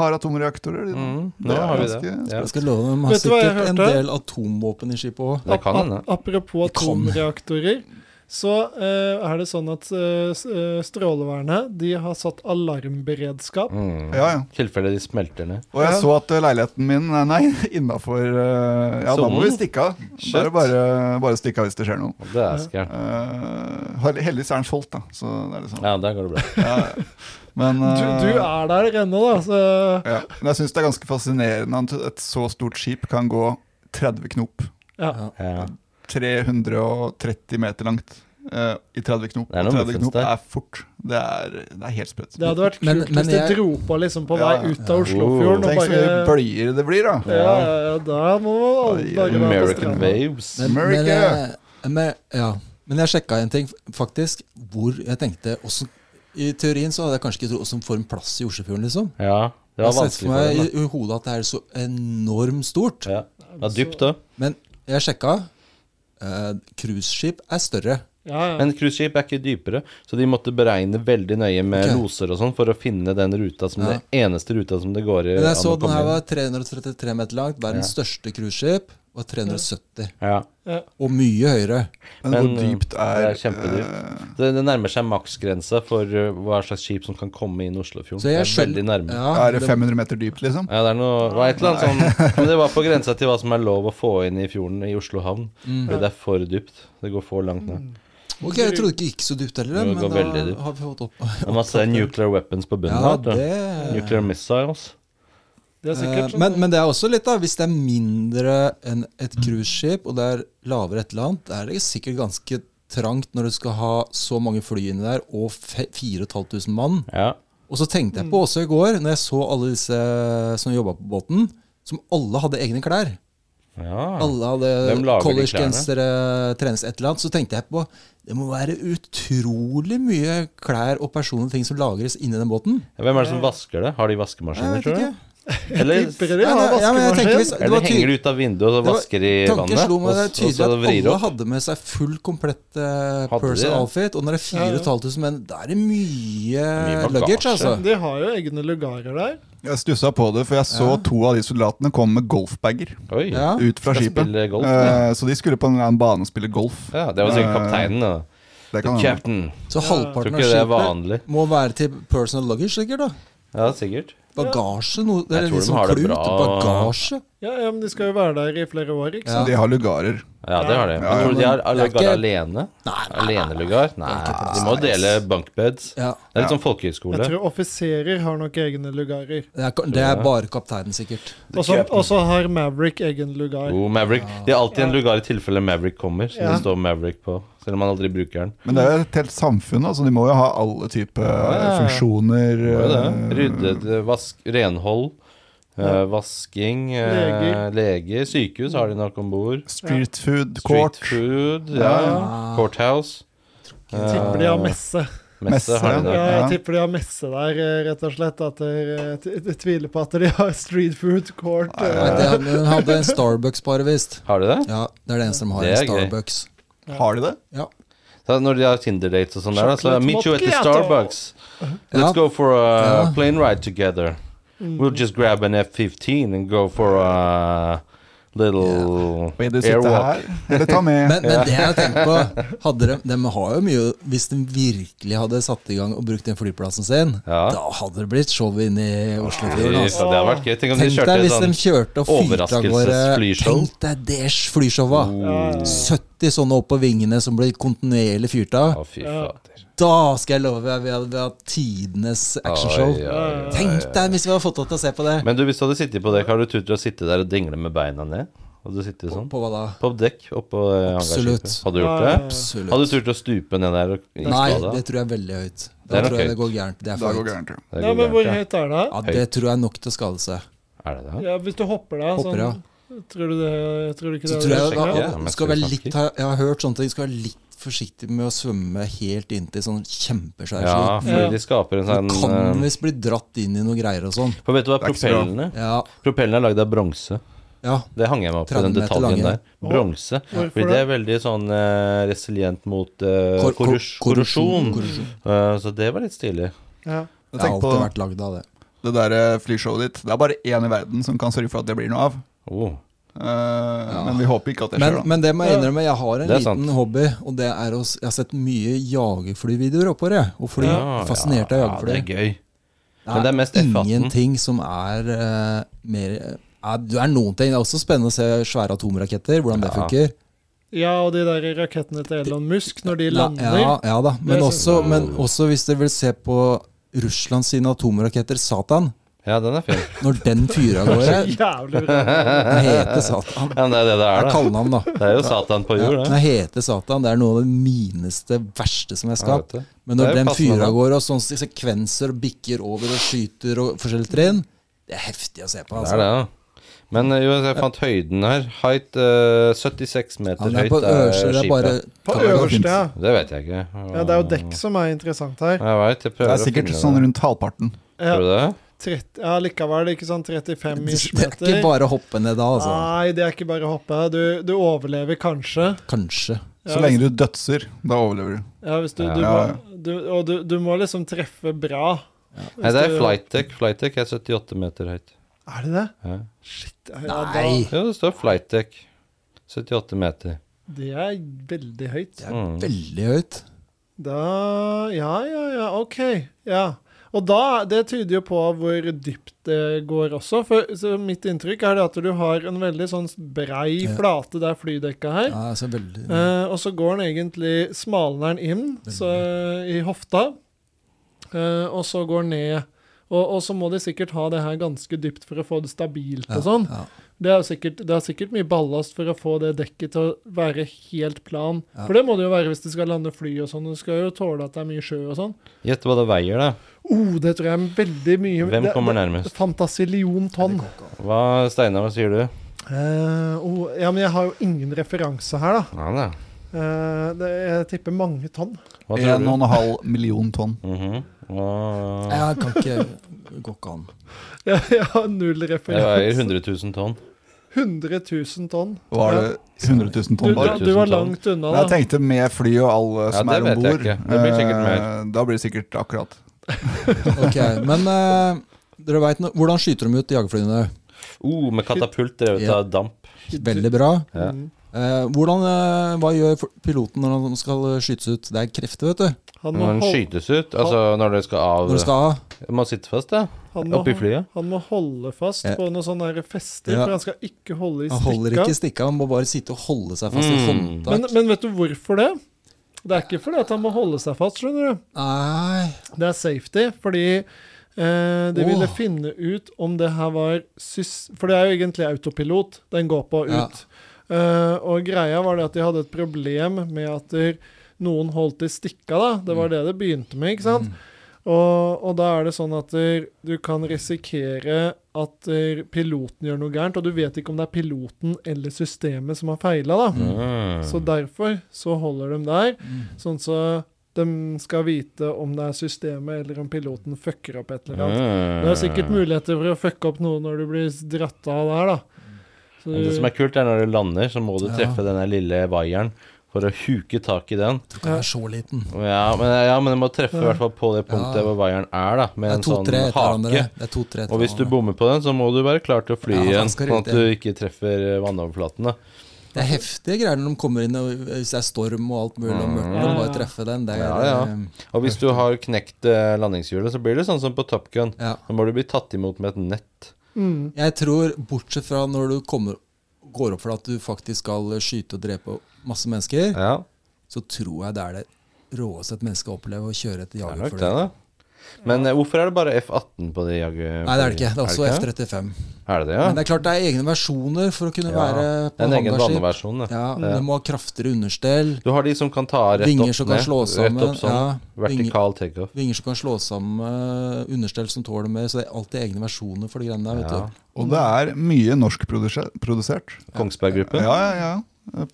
har atomreaktorer. Mm, Det nå er har vi det. ganske Ja. Jeg skal love dem, de har Vet du hva jeg sikkert en hørte? del atomvåpen i skipet òg. Det kan Ap- hende. ap- Apropos Det kan. atomreaktorer, så eh, er det sånn at eh, s- eh, Strålevernet de har satt alarmberedskap. Mm. Ja, ja. Tilfelle de smelter ned. Og jeg Ja. så at eh, leiligheten min eh, Nei, innafor eh, Ja, da må vi Sonen. stikke av. Da er Shit. det bare, bare å stikke av hvis det skjer noe. Og Det er skjært. Eh, hell- heldigvis er den solgt, da. Så det er liksom Ja, der går det bra. ja. Men Du, du eh, er der ennå, da, så ja. Men jeg syns det er ganske fascinerende at et så stort skip kan gå 30 knop. ja. Ja. Ja. 330 meter langt eh, i 30 knop. Det er noe 30 muffens knop der. er fort. Det er, det er helt sprøtt. Det hadde vært kult Men- men hvis det jeg- dro på liksom på Ja, vei ja, ut av ja. Oslofjorden og Tenk så bare mye bølger det blir, ja, da. ja, ja, da må alle Oi, bare være på American stranda. Waves. Men, men, America! eh, men, ja. men jeg sjekka en ting, faktisk. Hvor jeg tenkte hvordan- I teorien så hadde jeg kanskje ikke trodd åssen får en plass i Oslofjorden, liksom. Ja, det var jeg har sett vanskelig for for meg i, dem. i hodet at det er så enormt stort. da. Ja. Det er dypt òg. Men jeg sjekka. eh, Cruiseskip er større. Ja, ja. Men cruiseskip er ikke dypere, så de måtte beregne veldig nøye med Ok. loser og sånn for å finne den ruta som Ja. det eneste ruta som det går i. Men jeg an så å den komme her inn. var 333 meter langt. Verdens største cruiseskip var 370. ja. Og mye høyere. Men hvor Men, eh, dypt er det er kjempedypt. eh, det, det nærmer seg maksgrensa for uh, hva slags skip som kan komme inn Oslofjorden. Så jeg Det er skjønner- veldig nærme. Ja. Ja, eh, er det 500 meter dypt, liksom? det er noe, det var et eller annet sånn, men det var på grensa til hva som er lov å få inn i fjorden i Oslo havn. Mm. Fordi det er for dypt. Det går for langt ned. Ok, jeg trodde ikke det gikk så dypt heller, Det men går da veldig dypt. har vi fått opp Det er masse nuclear weapons på bunnen Ja, her. vet du. det Nuclear missiles. Det er sikkert Eh, sånn. men, men det er også litt, da. Hvis det er mindre enn et cruiseskip, og det er lavere et eller annet, da er det sikkert ganske trangt når du skal ha så mange fly inni der, og fe- 4500 mann. Ja. Og så tenkte jeg Mm. på også i går, når jeg så alle disse som jobba på båten, som alle hadde egne klær. Ah. ja. Alle Hvem hadde lager de collegegensere, trenes et eller annet. Så tenkte jeg på det må være utrolig mye klær og personlige ting som lagres inni den båten. Hvem er det Ja. som vasker det? Har de vaskemaskiner, Jeg vet tror ikke. du? Eller, Tipper de har Nei, nei, ja, men jeg tenker vaskemaskin? hvis- det var eller tydelig- henger de ut av vinduet og så vasker i Tanken vannet? slo meg det og- er og tydelig så at vrir alle opp? hadde med seg full komplett uh, Hadde de person det? outfit. Og når det er Ja, ja. 4500 menn, da er det mye, Mye bagasje. luggage, altså. De har jo egne lugarer der. Jeg stussa på det, for jeg så to av de soldatene komme med golfbager Oi. Ja. Ja. ut fra Ah, Skal skipet. spille golf, Eh, så de skulle på en eller annen bane og spille golf. det var sikkert Eh, kapteinen, da. Det The kan hende. captain. Så Tror halvparten av ikke det er skipet vanlig. må være til personal luggage, sikkert. da Ja, sikkert. Bagasje, noe det Jeg tror er de litt sånn har det klut. bra. Bagasje. Ja, ja, men de skal jo være der i flere år, ikke Ja. sant? De har lugarer. Ja, det har de. Men Ja, tror du de har men det er lugar ikke- alene? Nei, nei, Alenelugar? Nei, de må dele bunkbeds. Ja. Det er litt Ja. sånn folkehøyskole. Jeg tror offiserer har nok egne lugarer. Det er, det er bare kapteinen, sikkert. Og så- Og så har Maverick egen lugar. Oh, Maverick. De har alltid en lugar i tilfelle Maverick kommer, som Ja. det står Maverick på. Selv om han aldri bruker den. Men det er jo et helt samfunn, altså. De må jo ha alle typer Ja. funksjoner. Det var jo eh, det. Ryddet, eh, vask, renhold, eh, vasking, Leger. eh, leger, sykehus har de nok om bord. Street food, Street court. food, ja. Ja. Courthouse. Jeg tipper de har Eh, messe. Messe har de Messe, nok. Ja, Ja. jeg tipper de har messe der, eh, rett og slett. At de, jeg tviler på at de har street food court. eh. Nei, det, men de hadde en Starbucks, bare visst. Har de det? Ja, det er det eneste de har. Det en er gøy. Starbucks. Har de det? Ja. Så når de har Tinder-dates og sånn der, da, så Chocolate Meet you at the macchiato. Starbucks. Let's Ja. go for a Ja. plane ride together. We'll just grab an F-15 and go for a little Vil du sitte airwalk. her, eller ta med? Men, men det jeg tenker på hadde de, de har jo mye Hvis de virkelig hadde satt i gang og brukt den flyplassen sin, Ja. da hadde det blitt show inne i Det Oslofjorden. Altså. hadde vært gøy. Tenk om de Tenk kjørte deg hvis de sånn kjørte og fyrte av gårde overraskelsesflyshow. Tenk deg det flyshowet! 70 sånne opp på vingene som blir kontinuerlig fyrt av. Å, fy fader. Da skal jeg love deg vi hadde, vi hadde tidenes actionshow. Oi, ja, ja, ja. Tenk deg hvis vi hadde fått lov til å se på det. Men du, hvis du hadde sittet på dekk, har du turt å sitte der og dingle med beina ned? Hadde du sittet sånn? på hva da? På dekk oppå eh, Absolutt. hangarskipet? Hadde du gjort Ja, ja, ja. det? Absolutt. Hadde du turt å stupe ned der? Og Nei, skade? det tror jeg er veldig høyt. Det er Da nok tror jeg høyt. det går gærent. Det er Da for går høyt. gærent, tror jeg. Det Nei, går men gærent, hvor ja. høyt er det? Ja, det tror jeg er nok til å skade seg. Er det det? Ja, hvis du hopper deg Hopper, ja. sånn, tror du det Tror du ikke Så det? tror jeg sjekker jeg, ja, mens skal vi være snakker. litt, har- Jeg har hørt sånne ting. Skal være litt forsiktig med å svømme helt inntil sånn kjempesvær Ja, slutt. fordi Ja. de skaper en Du sånn kan eh, visst bli dratt inn i noe greier og sånn. For vet du hva, Det er ikke så bra. propellene Ja, Propellene er lagd av bronse. ja. Det hang jeg meg opp i, 30 den meter detaljen lange. der. Bronse. Hvorfor Fordi det det? er veldig sånn eh, resilient mot eh, Kor- kor- korrus- korrosjon. korrosjon. Eh, så det var litt stilig. Ja. Jeg Det har alltid tenker på vært lagd av det. det der eh, flyshowet ditt. Det er bare én i verden som kan sørge for at det blir noe av. Oh. Eh, Men vi håper ikke at det skjer, Men, da. men det må jeg innrømme, jeg har en Det er liten sant. hobby, og det er å s- Jeg har sett mye jagerflyvideoer oppover, jeg. Og fly. Ja, Fascinert av ja, Ja, jagerfly. det er gøy. Men det er mest F18. ingenting som er eh, mer eh, Det er noen ting. Det er også spennende å se svære atomraketter, hvordan det Ja. funker. ja, og de der rakettene til Elon Musk, når de lander Ja, ja da, Det men er også, sånn- men også hvis dere vil se på Russland sine atomraketter, Satan. Ja, den er fin. Når den fyrer av gårde, Jævlig bra. den heter Satan. Ja, men det er det det Det er, er da. kallenavn, da. Det er jo Satan på Ja, jord, den det. heter Satan. Det er noe av det mineste, verste som er skapt. Jeg vet det. Det Men når er den passende, fyrer da. av gårde, og sånne sekvenser og bikker over og skyter og forskjellige trinn, det er heftig å se på. Det er Altså. det, da. Men eh, jo, jeg fant høyden her. Height eh, 76 Ja, meter den er på høyt er øverste, det er bare skipet. På øverste, ja. Det vet jeg ikke. ja. Det er jo dekk som er interessant her. Jeg vet, jeg Det prøver er sikkert å finne sånn rundt halvparten. Ja, Tror du det? 30, ja likevel, ikke sånn 35 Det ish er ikke meter. bare å hoppe ned da, altså. Nei, det er ikke bare å hoppe. Du, du overlever kanskje. Kanskje. Så lenge du dødser, da overlever du. Ja, hvis du, du, Ja. Må, du, og du, du må liksom treffe bra. Nei, det er Hvis du- flight deck. Flight deck er 78 meter høyt. Er det det? Ja. Shit. Ja, Nei! Jo, det står flight deck. 78 meter. Mm. Da, det er veldig høyt. Det er veldig høyt. Da Ja, ja, ja, OK. Ja. Og da, det tyder jo på hvor dypt det går også. For så mitt inntrykk er det at du har en veldig sånn brei Ja. flate der flydekka her. Ja, altså veldig Eh, og så går den egentlig smalner den inn så, i hofta, eh, og så går den ned. Og, og så må de sikkert ha det her ganske dypt for å få det stabilt og sånn. Ja, Det er, jo sikkert, det er sikkert mye ballast for å få det dekket til å være helt plan. Ja. For det må det jo være hvis de skal lande fly og sånn. Du skal jo tåle at det er mye sjø og sånn. Gjett hva det veier, da. Oh, det tror jeg er veldig mye Hvem det- kommer det- nærmest? Fantasilion tonn. Hva, Steinar, hva sier du? Eh, oh, ja, men jeg har jo ingen referanse her, da. Ja da. Eh, det, jeg tipper mange tonn. Hva tror du? 1,5 million tonn. Mhm. Hva- Jeg kan ikke Går ikke an. Jeg, jeg har null Det veier referanse. 100 000 tonn. 100 000 tonn. Var det 100 000 Du, tonn bare? du, du var langt unna, Jeg da. tenkte med fly og alle som det vet er om jeg bord. ikke. eh, Det blir sikkert mer. Da blir det sikkert akkurat. Ok, Men eh, dere vet nå- hvordan skyter de ut jagerflyene? Oh, med katapult drevet Ja. av damp. Veldig bra. Ja. Mm. Eh, hvordan, eh, hva gjør f- piloten når han skal skytes ut? Det er krefter, vet du. Han må, Når den holde, skytes ut. Altså når det skal av Når du skal av. Man sitter fast, ja. han, må, Oppi flyet. han må holde fast Ja. på noen sånne her fester, Ja. for han skal ikke holde i Han holder ikke stikka. i stikka, han må bare sitte og holde seg fast i Mm. Men, håndtak. men vet du hvorfor det? Det er ikke fordi at han må holde seg fast, skjønner du. Nei Det er safety, fordi eh, de Åh. ville finne ut om det her var sys... For det er jo egentlig autopilot den går på ut. Ja. Eh, og greia var det at de hadde et problem med at der, noen holdt i stikka, da. Det Mm. var det det begynte med, ikke sant? Og, og da er det sånn at der, du kan risikere at der, piloten gjør noe gærent, og du vet ikke om det er piloten eller systemet som har feila, da. Mm. Så derfor så holder de der, sånn så de skal vite om det er systemet eller om piloten fucker opp et eller annet. Mm. Det er sikkert muligheter for å fucke opp noe når du blir dratt av der, da. Så Men Det som er kult, er når du lander, så må du Ja. treffe den der lille vaieren. for å huke tak i den. Jeg tror ikke den er så liten. Ja, men, ja, men jeg må treffe i hvert fall på det punktet Ja. hvor vaieren er, da, med Det en er to-tre sånn etter hverandre. hake. Det er to-tre etter Og hvis du hverandre. bommer på den, så må du være klar til å fly Ja, han igjen, skal sånn ut at du ikke treffer eh, vannoverflaten. da. Det er heftige greier når de kommer inn, og hvis det er storm og alt mulig, og mørkt, og bare treffe den. Det er, Mm. Ja, ja. Og hvis du har knekt eh, landingshjulet, så blir det sånn som på Top Gun. Ja. Da må du bli tatt imot med et nett. Mm. Jeg tror, bortsett fra når du kommer, går opp for at du faktisk skal skyte og drepe masse mennesker, Ja, så tror jeg det er det råeste et menneske opplever å kjøre et det er nok jagerfly. det, da. Men eh, hvorfor er det bare F-18 på de jagerflyene? Nei, det er det ikke. Det er også F-35. Er det det, ja? Men det er klart det er egne versjoner for å kunne Ja, være det på er en egen hangarskip. baneversjon. da. Ja, men Du må ha kraftigere understell, Du har de som kan ta rett vinger opp som kan ned, slå sammen. Rett opp sånn. ja, vinger, Vertikal takeoff. vinger som kan slå sammen, eh, understell som tåler mer. Så det er alltid egne versjoner for de greiene der. vet Ja. du. Og det er mye norskprodusert. Kongsberg Gruppen. Ja, ja, ja.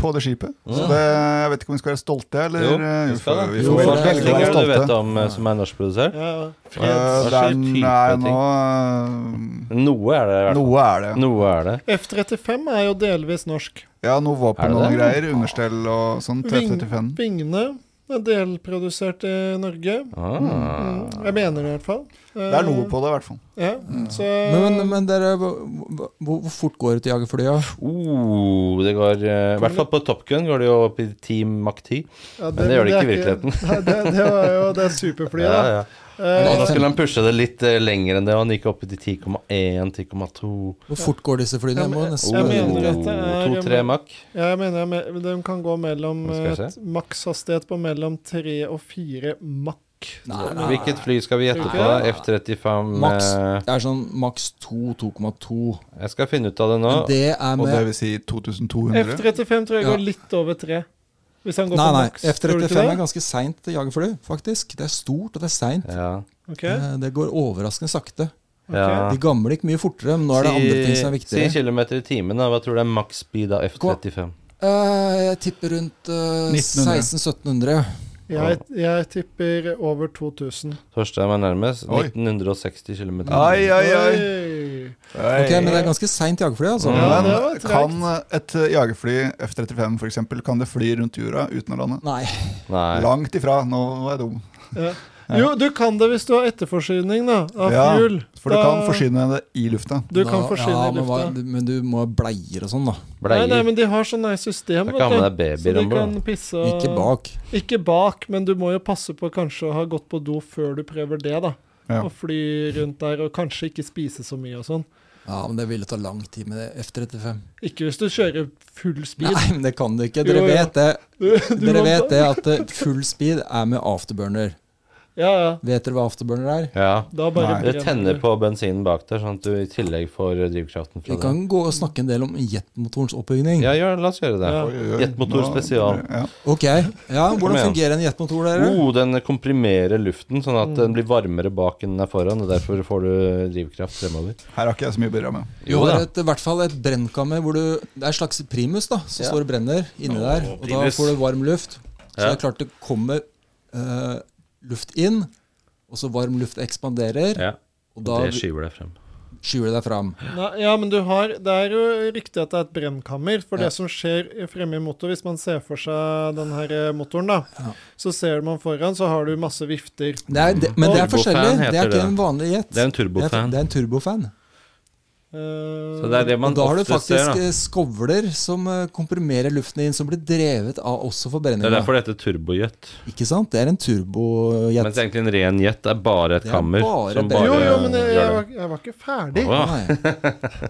På det skipet. Så det, jeg vet ikke om vi skal være stolte, eller Jo, eh, vi skal det. vi Jo, Hva får vel slags velge å ting være er det du vet stolte. om eh, som er norskprodusert? Ja, ja. Eh, Freds. det er, Hva skjer type nei, ting? nå Noe er det i eh, hvert fall. Noe er det. Noe er det. F-35 er jo delvis norsk. Ja, noe Er våpen det og noen det? greier. Understell og sånn. Ving- T-35. Vingene er delprodusert i Norge. Ah. Mm. Jeg mener det i hvert fall. Eh, Det er noe på Mm. det, i hvert fall. Ja, så Men, men, men dere, hvor, hvor- hvor fort går det til jagerflyet? Oh, det går eh, I hvert fall på Top Gun går det jo opp i Team Mach 10. Ja, Men det gjør det ikke i er Nei, det, det var jo det superflyet, da. Ja, altså- ja. Eh, Og da skulle han pushe det litt eh, lenger enn det, og han gikk opp til 10,1, 10,2 Hvor fort går disse flyene? Jeg må Jeg- nesten jeg Oh. spørre. mener at det er- 2-3 Mach. ja, jeg mener jeg me- de kan gå mellom eh, Nå skal jeg et makshastighet på mellom 3 og 4 makk. Nei, nei, Hvilket fly skal vi gjette Tror på? du ikke da? F-35 Maks. eh, Det er sånn maks 2-2,2. Jeg skal finne ut av det nå. Men det er Og med det vil si 2200. F-35 tror jeg Ja. går litt over 3. Hvis han går Nei, på nei. maks. tror du F-35 ikke er det? ganske seint jagerfly, faktisk. Det er stort, og det er seint. Ja. Ok, Eh, Det går overraskende sakte. ok. Ja. De gamle gikk mye fortere, men nå er det andre ting som er Si viktigere. kilometer i timen, da. Hva tror du er maks speed av F-35? Eh, Jeg tipper rundt eh, 1900. 1600-1700. Jeg, jeg tipper over 2000. Torstein var nærmest. Oi. 1960 km. Ai, ai, ai. Oi. Oi. Ok, men det er ganske seint jagerfly, altså. Ja, Men det var tregt. kan et eh, jagerfly, F-35 f.eks., kan det fly rundt jorda uten å lande? Nei. Nei. Langt ifra. Nå er jeg dum. Ja. Jo, du kan det hvis du har etterforsyning da, av Ja, fuel. For du Da- kan forsyne det i lufta. Du kan Da- forsyne ja, i men lufta. hva- Men du må ha bleier og sånn, da. Nei, nei, Bleier. men de har sånn nice system, Da kan man ha babyer Så de om bord, kan da. pisse og- Ikke bak. Ikke bak, men du må jo passe på kanskje å ha gått på do før du prøver det, da. Ja. Og fly rundt der, og kanskje ikke spise så mye og sånn. Ja, men det ville ta lang tid med det F-35. Ikke hvis du kjører full speed. Nei, men det kan du ikke. Jo, Dere jo. vet det. Du, du Dere må- vet det at eh, full speed er med afterburner. Ja, ja. Vet dere hva afterburner er? Ja. Da bare Nei. Det brenner tenner du. på bensinen bak der, sånn at du i tillegg får drivkraften Vi fra det. kan gå og snakke en del om jetmotorens oppbygning. Ja, gjør, la oss gjøre det. Ja. Oi, oi, oi. Jetmotor Nå- spesial. Ja. Ok, ja, Kom Hvordan igjen. fungerer en jetmotor, dere? Oh, den komprimerer luften, sånn at den blir varmere bak enn den er foran. Og derfor får du drivkraft fremover. Her har ikke jeg så mye å bidra med. Du har et, i hvert fall et brennkammer hvor du Det er en slags primus da som Ja. står og brenner inni der. Og da primus. får du varm luft. Så Ja. det er klart det kommer eh, luft inn, og så varm luft ekspanderer, Ja, og da og det skyver deg frem. skyver det deg fram. Nei, ja, men du har Det er jo riktig at det er et brennkammer. For Ja. det som skjer fremme i motor, hvis man ser for seg den her eh, motoren, da, Ja. så ser man foran, så har du masse vifter. Det er, det, men det er Turbofan forskjellig. Det heter er det. ikke en vanlig jet. Det er en Det er, turbofan. det er en turbofan. Eh, Så det er det man og da har du ofte faktisk ser. Da. eh, skovler som eh, komprimerer luften inn, som blir drevet av også Det er forbrenninga. derfor det heter turbojet. Ikke sant? Det er en turbojet. Mens egentlig en ren jet er bare et Det er kammer. bare som brenn- bare jo, jo, men jeg, jeg, gjør det. var, jeg var ikke ferdig. Å, ja. Nei,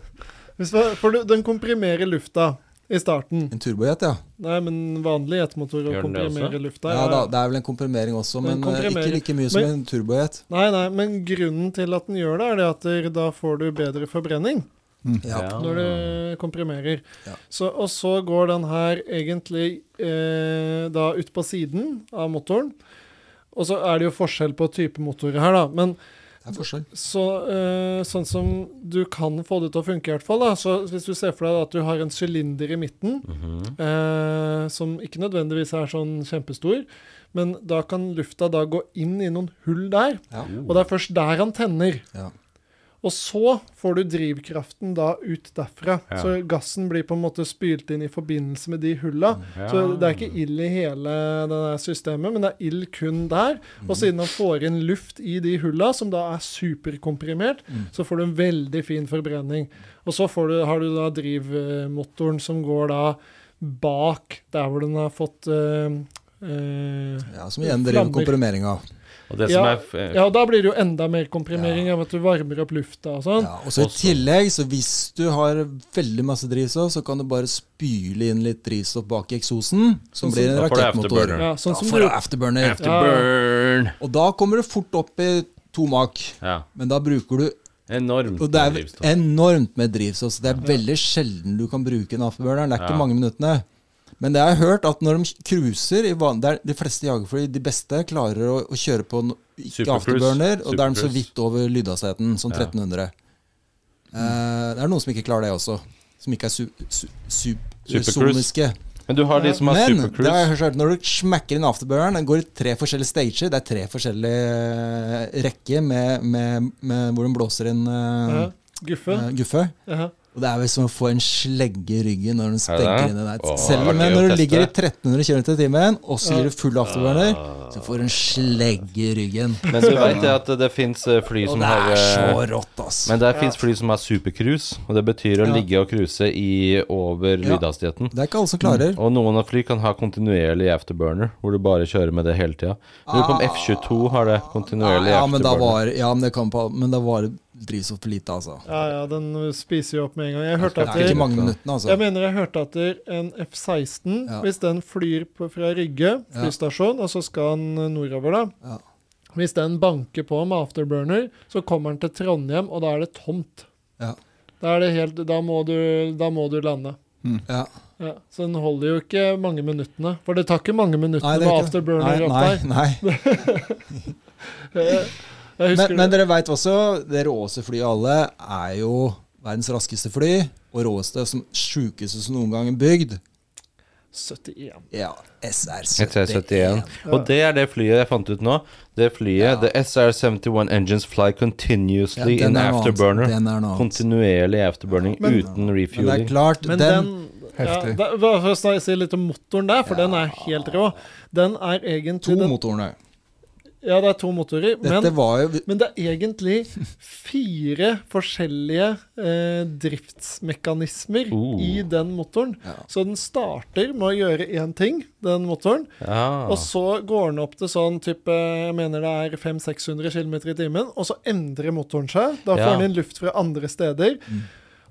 Hvis det- for du, den komprimerer lufta i starten. en turbojet, ja. Nei, men vanlig jetmotor å Gjør den det komprimere også? lufta. Ja da, det er vel en komprimering også, Men men eh, ikke komprimerer- like mye som men- en turbojet. Nei, nei, men grunnen til at den gjør det, er det at der, da får du bedre forbrenning Ja. Ja. når du komprimerer. Ja. Så, og så går den her egentlig eh, da ut på siden av motoren. Og så er det jo forskjell på type motorer her, da. Men Det er forskjell. Så, eh, sånn som du kan få det til å funke, i hvert fall. Da. Så hvis du ser for deg at du har en sylinder i midten, Mhm. eh, som ikke nødvendigvis er sånn kjempestor, men da kan lufta da gå inn i noen hull der, Ja. og det er først der han tenner. Ja. Og så får du drivkraften da ut derfra. Ja. Så gassen blir på en måte spylt inn i forbindelse med de hulla. Mm, Så det er ikke ild i hele det der systemet, men det er ild kun der. mm, Og siden han får inn luft i de hulla, som da er superkomprimert, Mm. så får du en veldig fin forbrenning. Og så får du, har du da drivmotoren som går da bak der hvor den har fått eh, eh, Ja, Som igjen driver Flammer. komprimeringa. Og det som Ja, er f- eh, Ja, da blir det jo enda mer komprimering av at du varmer opp lufta og sånn. Ja, og så I Også- tillegg, så hvis du har veldig masse drivstoff, så kan du bare spyle inn litt drivstoff bak i eksosen, som Sånn som- blir en Da får du rakettmotor. afterburner. Ja, sånn som da får du du afterburner. eh, Afterburn! Og da kommer du fort opp i to mak. Ja. Men da bruker du Enormt Og det er drivstoff. enormt med drivstoff, så det er veldig sjelden du kan bruke en afterburner. Det er ikke Ja. mange minuttene. Men det jeg har hørt at når de cruiser i van, det er De fleste jagerfly, de beste, klarer å, å kjøre på no, ikke Supercruise. afterburner, og da er de så Supercruise. vidt over lydhastigheten, sånn Ja. 1300. Eh, det er noen som ikke klarer det også. Som ikke er su, su, su, Supercruise. soniske. Men du har de som har Men det har supercruise. jeg hørt, når du smekker inn afterburn, den går i tre forskjellige stager. Det er tre forskjellige eh, rekker med, med, med hvor den blåser inn eh, Ja, Guffe. eh, guffe. Ja. Og det er vel som å få en slegge i ryggen når den det? spenker inn i deg. Åh, Selv det Ah. om var gøy når å du ligger i teste. 1300 km i timen, og så Ja. gir du full afterburner, så får du en slegge i ryggen. Men du veit at det fins fly Og som det har er så eh, rått, ass. Men det fins fly som har supercruise, og det betyr å Ja. ligge og cruise i over Ja. lydhastigheten. Det er ikke alle som klarer. Og noen av fly kan ha kontinuerlig afterburner, hvor du bare kjører med det hele tida. Lurer på om F-22 har det kontinuerlig Ah. Ja, men da afterburner. var, ja, men det kan på, men da var det drivstoff for lite, altså. ja, ja, den spiser jo opp med en gang. Jeg hørte Det at er ikke det, mange minuttene, altså. jeg mener jeg hørte at det, en F-16, Ja. hvis den flyr på, fra Rygge Ja. flystasjon, og så skal den nordover, da Ja. Hvis den banker på med afterburner, så kommer den til Trondheim, og da er det tomt. Ja. Da, er det helt, da, må du, da må du lande. Ja. Ja, så den holder jo ikke mange minuttene. For det tar ikke mange minuttene Nei, det med er ikke det. afterburner Nei, opp nei, der. nei. Jeg, jeg Men, husker men det. dere veit også, det råeste flyet av alle er jo verdens raskeste fly. Og råeste som sjukeste som noen gang er bygd. 71. Ja, SR-71. SR-71. Og det er det flyet jeg fant ut nå. Det flyet, Ja. The SR-71 engines fly continuously Ja, den in er noe annet. afterburner. Den er noe annet. Kontinuerlig afterburning Men- uten Men det er refueling. klart, Men den, den, Heftig. Ja, da, bare for å snak- si litt om motoren der, for den er helt rå. Den er to egentlig den, motorene Ja, det er to motorer, Dette men, var jo men det er egentlig fire forskjellige eh, driftsmekanismer Oh. i den motoren. Ja. Så den starter med å gjøre én ting, den motoren, Ja. og så går den opp til sånn type Jeg mener det er 500-600 km i timen, og så endrer motoren seg. Da får Ja. Mm. den inn luft fra andre steder.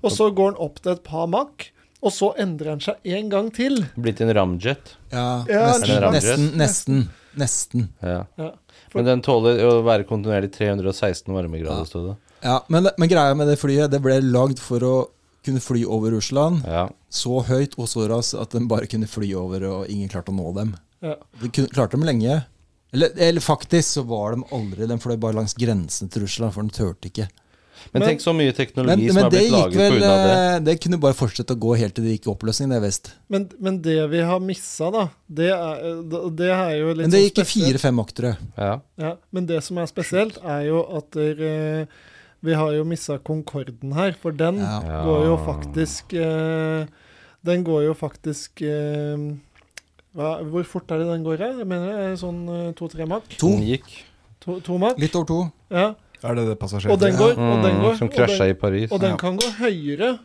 Og så går den opp til et par makk, og så endrer den seg en gang til. Blitt en ramjet. ja, Ja, nesten, den- nesten, nesten. Nesten. Ja. Ja. Men den tåler å være kontinuerlig 316 varmegrader, sto det. Ja, men, men greia med det flyet, det ble lagd for å kunne fly over Russland. Ja. Så høyt og så raskt at den bare kunne fly over, og ingen klarte å nå dem. Ja. De kunne, klarte dem lenge. Eller, eller faktisk så var de aldri Den fløy bare langs grensen til Russland, for den turte ikke. Men, Men- tenk så mye teknologi Men, som men har det blitt gikk laget vel pga. det. eh, Det kunne bare fortsette å gå helt til det gikk i oppløsning, det visst. Men, men det vi har missa, da, det er, det er jo litt Men det sånn gikk i spesielt. fire-fem aktere. Ja. Ja, men det som er spesielt, er jo at dere, vi har jo missa Concorden her, for den Ja. Ja. går jo faktisk eh, Den går jo faktisk eh, hva, Hvor fort er det den går? her? Jeg mener det er sånn eh, to-tre mak. To. Den gikk. To, to mak. Litt over to. Ja. Er det det Og den passasjeren går, og den Mm, går. som og den- krasja i Paris. Og den Ja. kan gå høyere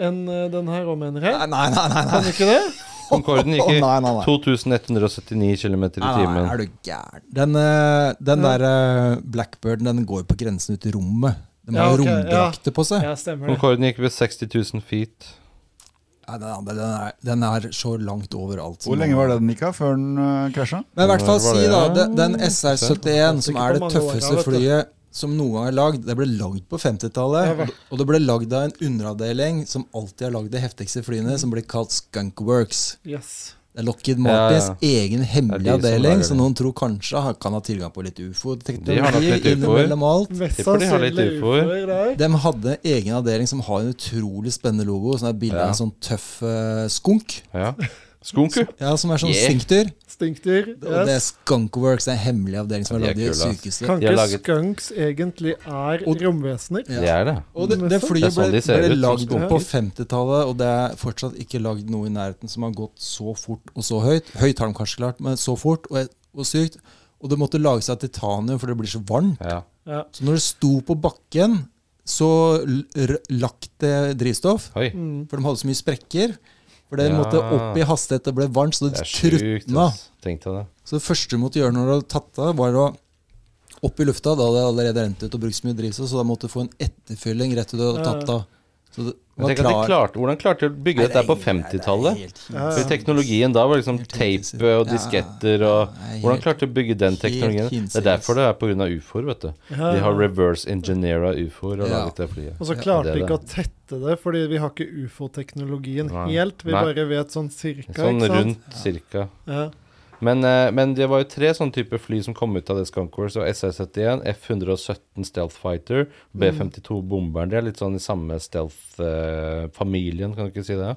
enn eh, den her òg, mener jeg. Nei, nei, nei. nei, nei. Kan ikke det? Concorden gikk Å, i nei, nei, nei. 2179 km i Nei, nei, timen. er du gæren. Den, eh, den Ja. der eh, Blackbirden, den går på grensen ut i rommet. Den Ja, har jo ok, romdrakter på seg. Ja, stemmer det. Concorden gikk ved 60 000 feet. Nei, den, andre, den, er, den er så langt overalt. Hvor lenge var det den gikk av før den eh, krasja? Men i hvert fall Når var si det? da, de- den Sikkert SR-71 som på er det mange år, ja, tøffeste vet du. flyet som noen gang er lagd, det ble lagd på 50-tallet. og- Og det ble lagd av en underavdeling som alltid har lagd de heftigste flyene, som blir kalt Skunkworks. Yes. Det er Lockheed Martins Ja, egen hemmelige Det er de som avdeling, lager som det. noen tror kanskje har- kan ha tilgang på litt De har nok litt ufo-teknologi UFO-er. innimellom alt. Mest Tipper de har litt sannsynlig ufoer. ufoer der. De hadde en egen avdeling som har en utrolig spennende logo, som er bilde av Ja. en sånn tøff eh, skunk. Ja. Skunku. Ja, som er sånn Yeah. stinkdyr. Stinkdyr. Og det er Yes. Skunkworks, det er en hemmelig avdeling som har Ja, lagd de er kule, de ass. sykeste. Kan De har ikke laget- skunks egentlig er Og- romvesener? Det Ja. er det. Og det, det Det er flyet sånn ble, de ser ble ut, som lagd på skunker. 50-tallet, og det er fortsatt ikke lagd noe i nærheten som har gått så fort og så høyt. Høyt har de kanskje klart, men så fort og, og sykt. Og det måtte lages av titanium, for det blir så varmt. Ja. Ja. Så når det sto på bakken, så l- r lakk det drivstoff. Oi. Mm. For de hadde så mye sprekker. For det Ja. måtte opp i hastighet, det ble varmt, så Det det er sjukt. trutna. ass. Tenk deg det. Så det første du måtte gjøre når du hadde tatt av, var å opp i lufta. Da hadde det allerede rent ut og brukt så mye drivstoff, så da måtte du få en etterfylling rett til du hadde Ja. tatt av. Så det Men tenk var at de klar. klarte, hvordan klarte de å bygge dette her på 50-tallet? Ja, ja. For Teknologien da var liksom Helt hinsides. tape og Ja, disketter og nei, Hvordan helt- klarte de å bygge den helt teknologien? Det er hinsides. derfor det er pga. ufoer, vet du. Ja. De har reverse engineera ufoer og Ja. laget det flyet. Og så Ja, klarte det vi er ikke å tette det, fordi vi har ikke ufo-teknologien Nei. helt. Vi Nei. bare vet sånn cirka, Sånn ikke sant? rundt cirka. Ja. Men, eh, men det var jo tre sånne typer fly som kom ut av det Skunk Wars. Og SI-71, F-117 Stealth Fighter, Mm. B-52 bomberen. De er litt sånn i samme stealth-familien, kan du ikke si det?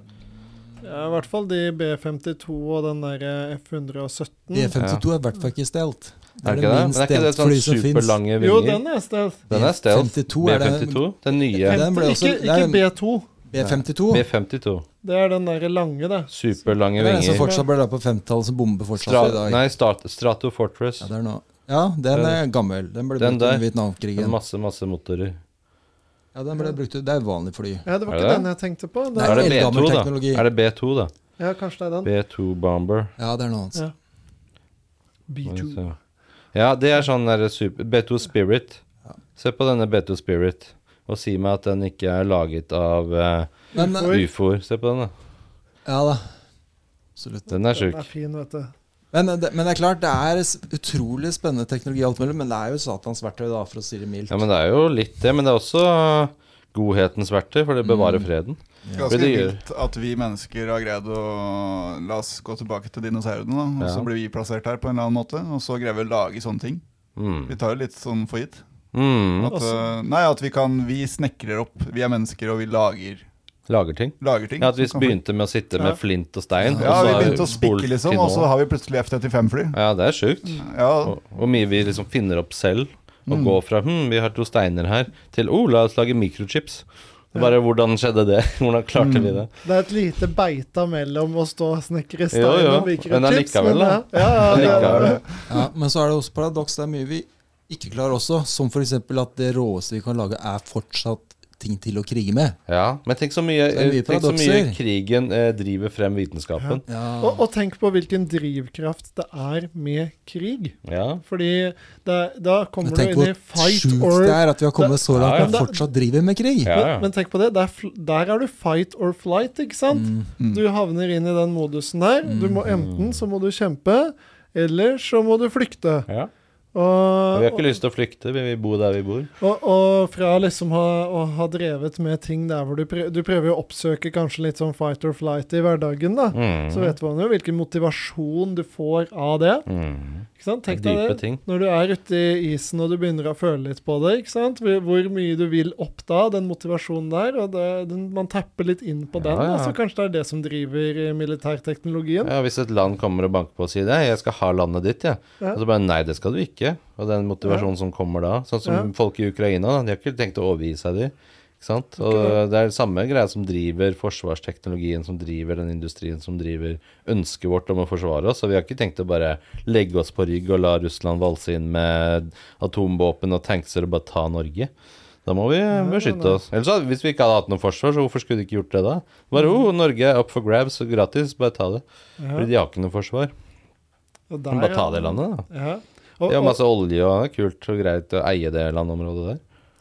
ja, i hvert fall de B-52 og den eh, derre F-117. E52 er i hvert fall ikke stelt. Er det ikke det? Men er ikke det sånn superlange Jo, vinger? den er stealth. Den er stealth. B52 er det- B-52, den nye. Den ble også- Ikke, det er ikke en- B2. B52 det B-52. Det er den derre lange, det. Superlange er den som vinger. fortsatt ble lagd på 50-tallet, som bomber fortsatt i Stra dag. nei, Stat Strato Fortress. Ja, det er nå. ja, den er gammel. Den ble Den brukt under der. Med Vietnamkrigen. masse, masse motorer. Ja, den ble brukt, det er vanlig fly. Ja, det var Er ikke den det? jeg tenkte på. Det Nei. er, Er det B2, eldgammel da? teknologi. Er det B2, da? ja, kanskje det er den. B2 Bomber. Ja, det er noe annet. Ja. B2. Så- Ja, det er sånn der super B2 Spirit. Se på denne B2 Spirit, og si meg at den ikke er laget av eh, Men, Oi. ufoer. Se på den, da. ja da. Absolutt. Den Den er sjuk. er fin, vet du. Men, det, men det er klart, det er s- utrolig spennende teknologi, og alt mulig, men det er jo satans verktøy, da, for å si det mildt. Ja, men det er jo litt det. Men det er også godhetens verktøy, for det Mm. bevarer freden. Ganske Men det gjør- vilt at vi mennesker har greid å La oss gå tilbake til dinosaurene, da. Og så Ja. blir vi plassert her på en eller annen måte. Og så greier vi å lage sånne ting. Mm. Vi tar jo litt sånn for gitt. Mm. At, eh, nei, at vi kan Vi snekrer opp. Vi er mennesker, og vi lager, Lager ting. lager ting. Ja, at vi som kan fly. begynte med å sitte Ja. med flint og stein. Ja, og så vi har begynte å spolt spikke, til liksom, og nå. så har vi plutselig F-35-fly. Ja, det er sjukt. Ja, Og hvor mye vi liksom finner opp selv. Mm. Og går fra hm, vi har to steiner her, til oh, la oss lage mikrochips. Og Bare hvordan skjedde det? Hvordan klarte vi det? Det er et lite beita mellom å stå og snekre stein Jo, jo. og mikrochips. Men allikevel, da. det- Ja, ja, det, Allikevel. Ja, men så er det også paradoks. Det er mye vi ikke klarer også, som f.eks. at det råeste vi kan lage, er fortsatt ting til å krige med. Ja, men tenk så mye, Det er mye tenk så mye paradokser. krigen eh, driver frem vitenskapen. Ja, Og, og tenk på hvilken drivkraft det er med krig. Ja. Fordi det, da men kommer du tenk hvor inn i fight sjukt or det er at vi har kommet så langt Ja, ja. at vi fortsatt driver med krig. Ja, ja. Men, men tenk på det, der, fl- der er du fight or flight, ikke sant? Mm, Du havner inn i den modusen der. Du må enten så må du kjempe, eller så må du flykte. ja. Og vi har Og, ikke lyst til å flykte, vi vil bo der vi bor. og, og fra liksom ha, å ha drevet med ting der hvor du prøver, du prøver å oppsøke kanskje litt sånn fight or flight i hverdagen, da. Mm. Så vet man jo hvilken motivasjon du får av det. Mm. Ikke sant? Tenk Det er deg dype det. ting. Når du er ute i isen og du begynner å føle litt på det, ikke sant? hvor hvor mye du vil opp da, den motivasjonen der, og det, den, man tapper litt inn på Ja, den, da, ja. så kanskje det er det som driver eh, militærteknologien. Ja, hvis et land kommer og banker på og sier det, jeg skal ha landet ditt, jeg. Ja. Og så bare nei, det skal du ikke. Og den motivasjonen som kommer da, sånn som Ja. folk i Ukraina, da, de har ikke tenkt å overgi seg, de. Ikke sant? Og det er samme greia som driver forsvarsteknologien, som driver den industrien, som driver ønsket vårt om å forsvare oss. Og vi har ikke tenkt å bare legge oss på rygg og la Russland valse inn med atomvåpen og tankser og bare ta Norge. Da må vi beskytte nei. oss. Ellers, hadde- hvis vi ikke hadde hatt noe forsvar, så hvorfor skulle de ikke gjort det da? Bare oh, Norge er up for grabs og gratis, bare ta det. Ja, Fordi de har ikke noe forsvar. og der, Men bare ta ja. det landet, altså, da. Ja. De Og, har og, masse olje, og det er kult og greit å eie det landområdet der.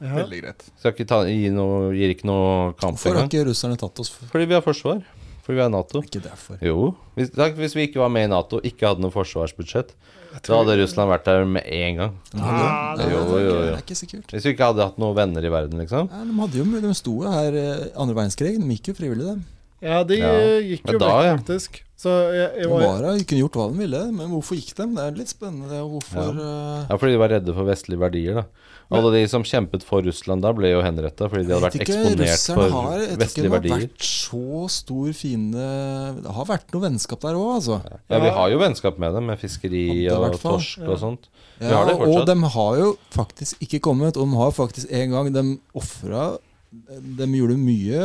ja. veldig greit. Skal ikke ta, gi noe, gir ikke noe kamp Hvorfor har engang. ikke russerne tatt oss? For? Fordi vi har forsvar. Fordi vi er Nato. Ikke derfor. Jo. Hvis, da, hvis vi ikke var med i Nato, ikke hadde noe forsvarsbudsjett, da hadde Russland vært der med en gang. De hadde, Ah, Nei, det- jo, det er ikke- jo, jo. Det er ikke sikkert. Hvis vi ikke hadde hatt noen venner i verden, liksom. Nei, de, hadde jo, mul- de sto jo her eh, andre verdenskrig. De gikk jo frivillig, dem. ja, de Ja. eh, gikk Men jo da, vekk, ja. faktisk. Så jeg, De jeg var, var, her, de kunne gjort hva de ville, men hvorfor gikk de? Det er litt spennende. det, og Hvorfor, eh, Ja, fordi de var redde for vestlige verdier, da. Alle de som kjempet for Russland da, ble jo henretta fordi de hadde vært Jeg vet ikke, eksponert russerne for har, jeg tror ikke vestlige de har verdier. vært så stor fiende Det har vært noe vennskap der òg, altså. Ja, vi har jo vennskap med dem, med fiskeri Hadde i og hvert fall. torsk Ja. og sånt. Vi Ja, har det og fortsatt. de har jo faktisk ikke kommet. Og de har faktisk en gang De ofra De gjorde mye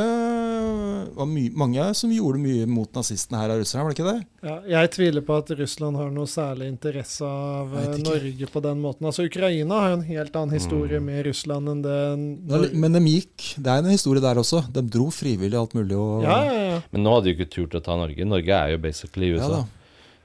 var my, Mange som gjorde mye mot nazistene her av russerne, var det ikke det? Ja, jeg tviler på at Russland har noe særlig interesse av eh, Vet ikke. Norge på den måten. Altså, Ukraina har jo en helt annen historie Mm. med Russland enn det Det er litt- Men de gikk. Det er en historie der også. De dro frivillig alt mulig. Og, Ja, ja, ja. Men nå hadde de jo ikke turt å ta Norge. Norge er jo basically Ja USA. da.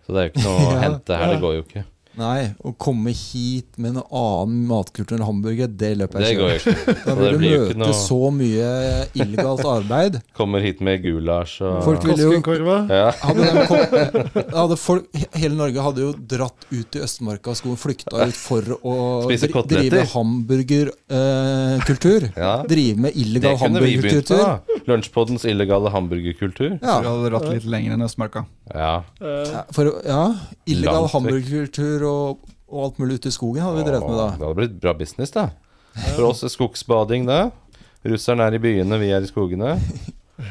så det er jo ikke noe å Ja. hente her. Ja. Det går jo ikke. Nei, å komme hit med en annen matkultur enn hamburger, det løper Det jeg går ikke. jo ikke. Da Og det vil du blir jo ikke møte noe- så mye illegalt arbeid. Kommer hit med gulasj og Folk vil jo Koskenkorva. ja. hadde de kom, hadde folk, he- Hele Norge hadde jo dratt ut til Østmarka og skulle flykta ut for å Spise dri- koteletter. drive hamburgerkultur. Ja. Drive med Det illegal kunne vi begynt med. hamburgerkultur. da. Lunsjpoddens illegale hamburgerkultur. Ja. Vi hadde dratt litt lenger enn Østmarka. Ja. Eh, For, å- ja, illegal Langt vekk. hamburgerkultur og, og alt mulig ute i skogen hadde vi drevet Åh, med da. Det hadde blitt bra business, da. For oss er skogsbading, da. Russerne er i byene, vi er i skogene.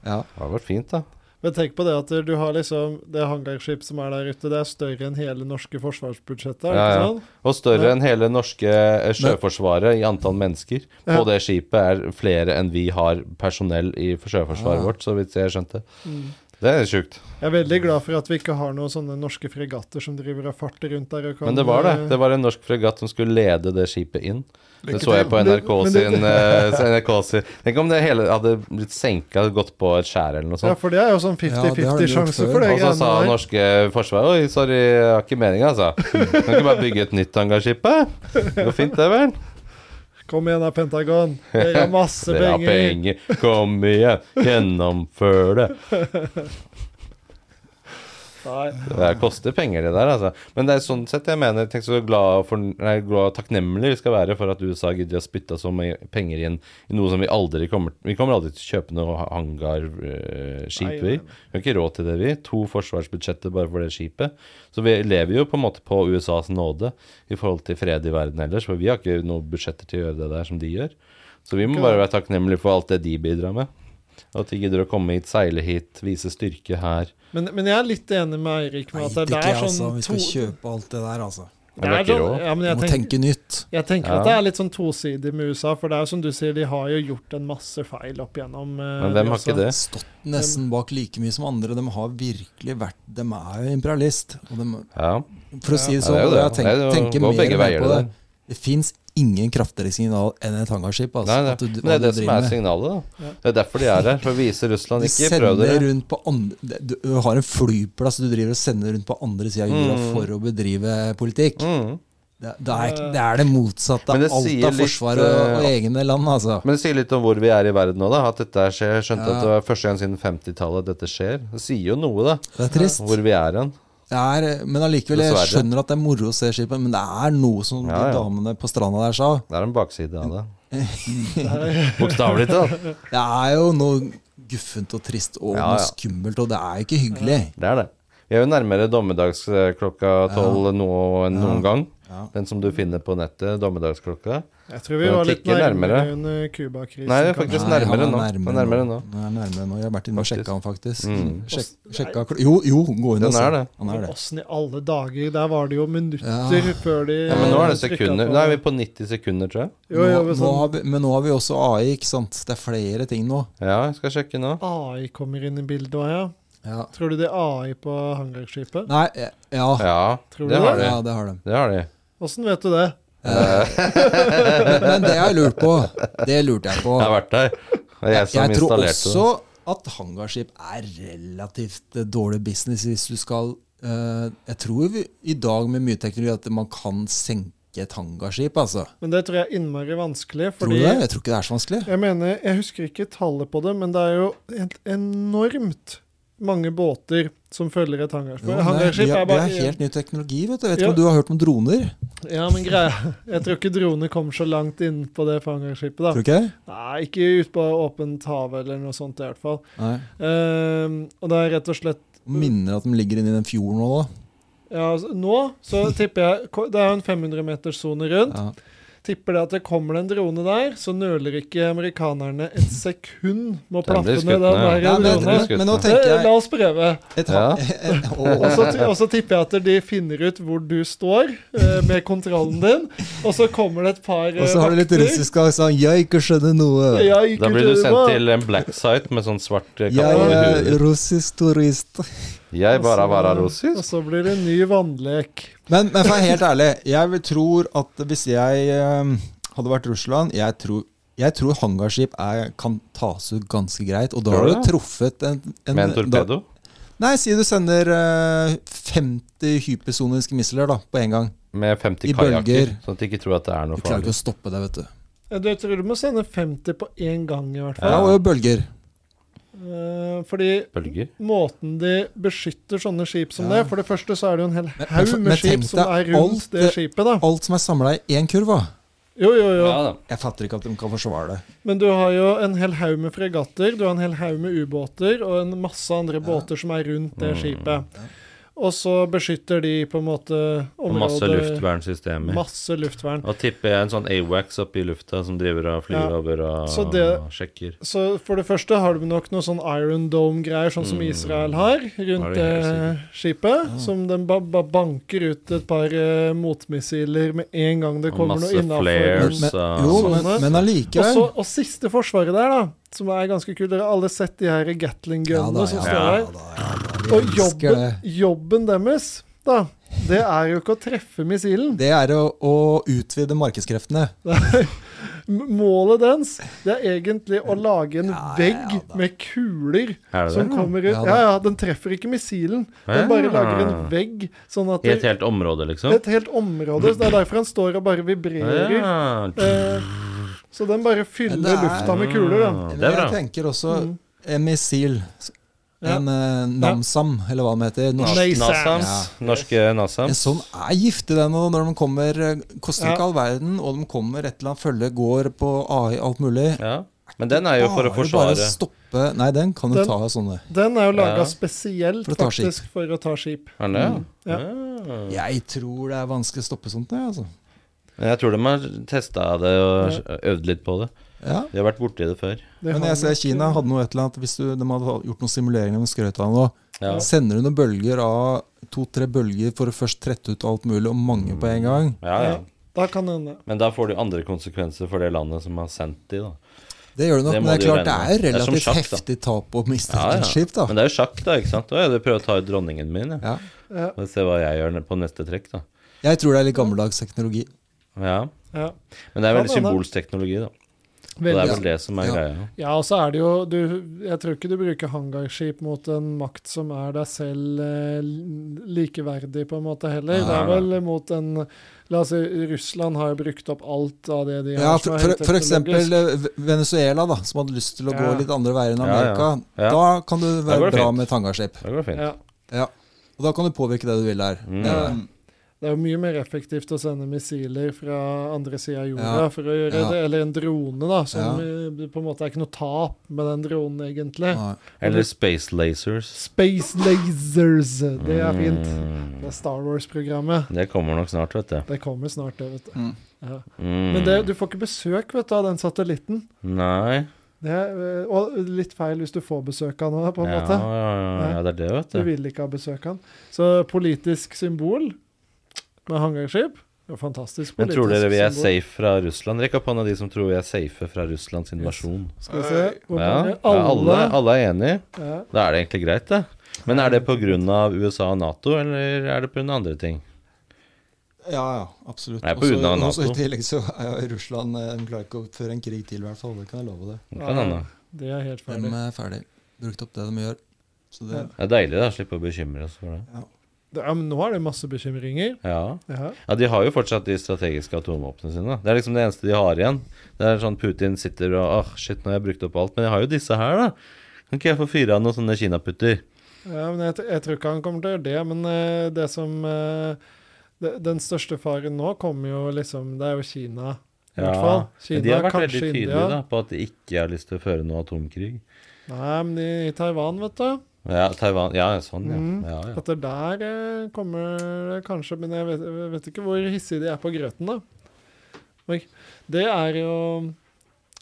Ja. Det hadde vært fint, da. men tenk på det at du har liksom det hangarskip som er der ute, det er større enn hele norske forsvarsbudsjettet. er det Ja, ikke ja. sånn? Og større enn hele norske eh, Men- sjøforsvaret i antall mennesker. Ja. På det skipet er flere enn vi har personell i sjøforsvaret Ah. vårt, så vidt jeg skjønte. Mm. Det er sjukt. Jeg er veldig glad for at vi ikke har noen sånne norske fregatter som driver og farter rundt der. Og kan, Men det var det. eh, Det var en norsk fregatt som skulle lede det skipet inn. Det Lykke så jeg til. på NRK Men- men det- sin, eh, så NRK sin Tenk om det hele hadde blitt senka, gått på et skjær eller noe Ja, sånt. for det er jo sånn Ja, det har 50-50 de gjort sjanse før. for det Og så sa greiene der. norske forsvaret Oi, sorry, jeg har ikke meninga, altså. Kan ikke bare bygge et nytt hangarskip? eh? Det går fint, det, vel? Kom igjen da, Pentagon. Dere har masse Dere har penger. penger. Kom igjen, gjennomfør det. Nei. Det koster penger, det der, altså. Men det er sånn sett jeg mener Tenk så glad, og for, nei, glad og takknemlig vi skal være for at USA gidder å spytte så mye penger inn i noe som vi aldri kommer Vi kommer aldri til å kjøpe noe hangarskip, Nei, nei, vi. Vi har ikke råd til det, vi. To forsvarsbudsjetter bare for det skipet. Så vi lever jo på en måte på USAs nåde i forhold til fred i verden ellers, for vi har ikke noen budsjetter til å gjøre det der som de gjør. Så vi må Ikke bare være takknemlige for alt det de bidrar med. Og at de gidder å komme hit, seile hit, vise styrke her. Men, men jeg er litt enig med Eirik med at det, det er sånn Vi skal kjøpe alt det der, altså. det Det er er ikke sånn, råd. ja, men Vi jeg må tenker, tenke nytt. jeg tenker Ja. at det er litt sånn tosidig med USA, for det er jo som du sier, de har jo gjort en masse feil opp gjennom eh, Men hvem har USA. ikke det? Stått nesten bak like mye som andre. De har virkelig vært De er jo imperialist. Og de, Ja. For å si det Ja, sånn, det er jo og jeg det. tenk, Det er jo- tenker går mer begge og mer veier, på det det. Det fins ingen kraftigere signal enn et hangarskip. Altså, Nei, nei. at du- Men det hva er det du som driver er med. signalet. da Ja. Det er derfor de er her. For å vise Russland Du ikke prøv sender dere. rundt på andre, du du har en flyplass du driver og sender rundt på andre sida av jorda Mm. for å bedrive politikk. Mm. Det, det, er, det er det motsatte Men av det alt sier av litt, eh, forsvar og, og egne land, altså. Men det sier litt om hvor vi er i verden nå, da. At dette her skjer. Jeg skjønte Ja. at det var første gang siden 50-tallet dette skjer. Det sier jo noe, da. Det er trist. om Hvor vi er hen. Det er, men allikevel, jeg Dessverre. skjønner at det er moro å se skipet, men det er noe som Ja, ja. de damene på stranda der sa. Det er en bakside av det. Bokstavelig talt. Det er jo noe guffent og trist og Ja, ja. noe skummelt, og det er ikke hyggelig. Det er det. Vi er jo nærmere dommedagsklokka tolv nå enn noen gang. Ja. Den som du finner på nettet. Dommedagsklokka. Jeg tror vi Den var litt tikker nærmere, nærmere. under Cuba-krisen. Nei, det er kanskje. faktisk Nei, nærmere han nå. er Han er nærmere nå. Han er nærmere nå. Jeg har vært inne og Faktisk. sjekka han, faktisk. Mm. Sjek, sjekka, kl- jo, jo, gå inn Den og se. er det. Han Sånn er Men det. åssen i alle dager? Der var det jo minutter Ja. før de Ja, men nå er det trykket sekunder. på. Nå er vi på 90 sekunder, tror jeg. Jo, jo, nå, men nå sånn, har vi, men nå har vi også AI, ikke sant. Det er flere ting nå. Ja, jeg skal sjekke nå. AI kommer inn i bildet òg, ja. Ja. Tror du det er AI på hangarskipet? Nei, eh, ja. Ja, Tror det du har det? de. Ja, det har de. Eh, Det har de. Åssen vet du det? Men, men det jeg lurte på, det lurte jeg på. Jeg har vært der. Det er jeg som Jeg tror installerte også at hangarskip er relativt eh, dårlig business hvis du skal eh, Jeg tror vi, i dag med mye teknologi at man kan senke et hangarskip, altså. Men det tror jeg er innmari vanskelig, Tror du fordi det? Jeg tror ikke det er så vanskelig. Jeg mener, jeg husker ikke tallet på det, men det er jo helt enormt mange båter som følger et hangarskip. Jo, men det, er- hangarskip vi, er har, vi bare har helt ny teknologi, vet du. Jeg vet Ja. ikke om du har hørt om droner? Ja, men greia Jeg tror ikke droner kommer så langt inn på det for hangarskipet, da. Tror du ikke? det? Nei, ikke ut på åpent hav eller noe sånt i hvert fall. Nei. Ehm, og det er rett og slett Minner at de ligger inne i den fjorden nå, da. Ja, altså, nå så tipper jeg Det er jo en 500 meters sone rundt. Ja. Tipper det at det kommer det en drone der, så nøler ikke amerikanerne et sekund med å Den blir plaffe skutt ned den ned. der Nei, men, dronen. skutt men nå nå. Det, tenker jeg la oss prøve. et, Ja. et, Og å, så, ti- og så tipper jeg at de finner ut hvor du står eh, med kontrollen din, og så kommer det et par eh, Og så har du litt vakter. russisk aksent. Jeg ikke skjønner noe. Ja, ikke Da blir du sendt hva? til en black site med sånn svart eh, kappe Jeg over er huet. russisk turist. Jeg bare Og så- var Og russisk. så blir det en ny vannlek. Men, men for å være helt ærlig, jeg vil- tror at hvis jeg eh, hadde vært Russland Jeg tror, jeg tror hangarskip er, kan tas ut ganske greit. Og da Tror har du du det? truffet en, Med en Da, torpedo. nei, si du sender eh, 50 hypersoniske missler da, på en gang. Med I 50 kajakker. bølger. Sånn at de ikke tror at det er noe Du klarer farlig. ikke å stoppe det, vet du. Eh, Du tror du må sende 50 på én gang, i hvert Ja, fall. og bølger. Eh, fordi Bølger. måten de beskytter sånne skip som Ja. det For det første så er det jo en hel men haug for- med men skip tenk som er deg rundt alt det, det- skipet, da. Alt som er samla i én kurv. hva? Jo, jo, jo. Ja da. Jeg fatter ikke at de kan forsvare det. Men du har jo en hel haug med fregatter, du har en hel haug med ubåter og en masse andre båter som er rundt det Mm. skipet. Og så beskytter de på en måte Og området masse luftvernsystemer. Masse luftvern. Og tipper jeg en sånn AWACS oppe i lufta som driver og flyr Ja. over og Så det- sjekker. Så for det første har du nok noe sånn Iron Dome-greier, sånn som Mm. Israel har, Har rundt de helt det skipet. Som den ba ba banker ut et par eh, motmissiler med en gang det Og kommer masse noe innafor. flares. Men, Airs, men, uh, jo, sånne. men, men Og, allikevel. så, og siste forsvaret der, da, som er ganske kult. Dere har alle sett de her Gatling-gunnene som står ja. der. Og elsker jobben, jobben deres, da, det er jo ikke å treffe missilen. Det er å, å utvide markedskreftene. M- Målet dens, det er egentlig å lage en Ja, ja, vegg ja, da. med kuler Er det som det? Ah. kommer ut. Ja, da. Ja, ja, den treffer ikke missilen. Den bare lager en vegg, sånn at I et det, helt område, liksom? Et helt område. Så det er derfor han står og bare vibrerer. Ja. Eh, så den bare Men det fyller er- lufta med kuler, da. Ah, Men Det er jeg bra. tenker også Mm. en missil. Ja. En eh, Namsam, eller hva den heter. Norsk. Nei. Nasams. Norske En Nasams. sånn er giftig, den. Og når de kommer eh, Koster Ja. ikke all verden. Og de kommer et eller annet følge, går på AI, alt mulig. Ja. Men den er jo for å Bare- Bare forsvare. stoppe Nei, den kan du Den- ta av sånne. Den er jo laga Ja. spesielt For å ta skip. faktisk for å ta skip. Er det? Mm, Ja. Ja. Jeg tror det er vanskelig å stoppe sånt, jeg, altså. Men Jeg tror de har testa det og øvd litt på det. Ja. De har vært borti det før. Det Men har jeg ser nok- Kina hadde noe et eller annet Hvis du, de hadde gjort noen simuleringer med skrøt av nå Ja. Sender du noen bølger av To-tre bølger for å først trette ut alt mulig Og mange på en gang Ja, ja. Ja, Da kan det hende. Men da får det jo andre konsekvenser for det landet som har sendt de, da. Det gjør du nok, Det må men det er du klart det regne er med. Det er som relativt sjakk, da. heftig tap Å miste Ja, et ja. skip da Men det er jo sjakk, da, ikke sant? Å, jeg prøver å ta ut dronningen min, ja. ja. Ja, Og se hva jeg gjør på neste trekk, da. Jeg tror det er litt gammeldags teknologi Ja. ja. Men Ja, det er veldig men da- symbolsk teknologi, da. Og det Veldig. er vel det som er Ja. greia. Ja, og så er det jo du, Jeg tror ikke du bruker hangarskip mot en makt som er deg selv eh, likeverdig, på en måte, heller. Nei, Det er nei. vel mot en La oss si Russland har jo brukt opp alt av det de ja, har. som for, er for, helt for eksempel teknologisk. eh, Venezuela da Som hadde lyst til å gå Ja. litt andre veier enn Ja, ja. Amerika Ja. Da kan du Da går være det bra fint. med et hangarskip Det går fint. ja. ja. Og da kan du påvirke det du vil der Mm. Det er det. Ja. Det er jo mye mer effektivt å sende missiler fra andre sida av jorda Ja, for å gjøre ja. det, eller en drone, da, som eh, på en måte er ikke noe tap med den dronen, egentlig. Nei. Eller Space Lasers. Space lasers! Det er fint. Mm. Det er Star Wars-programmet. Det kommer nok snart, vet du. Det kommer snart, det, vet du. Mm. Ja. Mm. Men det, du får ikke besøk vet du, av den satellitten. Nei. Det er, øh, og litt feil hvis du får besøk av noe, på en ja, måte. Ja, ja, ja, det er det, vet Du du. vil ikke ha besøk av den. Så politisk symbol med hangarskip det er jo Fantastisk Men politisk tror dere vi er symbol. safe fra Russland? Rekk opp hånda de som tror vi er safe fra Russlands invasjon. Skal vi se hvor Ja, mange ja alle, Alle. alle er enige. Ja. Da er det egentlig greit, det. Men er det pga. USA og Nato, eller er det pga. andre ting? Ja, ja, absolutt. Nei, på Også- grunn av også NATO. I tillegg så er jo Russland eh, De klarer ikke å føre en krig til, i hvert fall. Det kan jeg love det. Det Kan hende. Det er helt De ferdig. er ferdig. Brukt opp det de gjør. Så det, Det er deilig, da. Slippe å bekymre oss for det. Det, ja, men nå er det masse bekymringer. Ja. Ja. ja, de har jo fortsatt de strategiske atomvåpnene sine. Det er liksom det eneste de har igjen. Det er sånn Putin sitter og Åh, shit, nå har jeg brukt opp alt. Men jeg har jo disse her, da. Kan ikke jeg få fire av noen sånne kinaputter? Ja, men jeg, t- jeg tror ikke han kommer til å gjøre det, men øh, det som øh, det, Den største faren nå kommer jo liksom Det er jo Kina, i hvert fall. Kina, Men de har vært veldig kanskje tydelige India. da, på at de ikke har lyst til å føre noe atomkrig. Nei, men i, i Taiwan, vet du. Ja, Taiwan Ja, sånn, ja. Mm. ja, ja. At det der eh, kommer det kanskje Men jeg vet, jeg vet ikke hvor hissige de er på grøten, da. Det er jo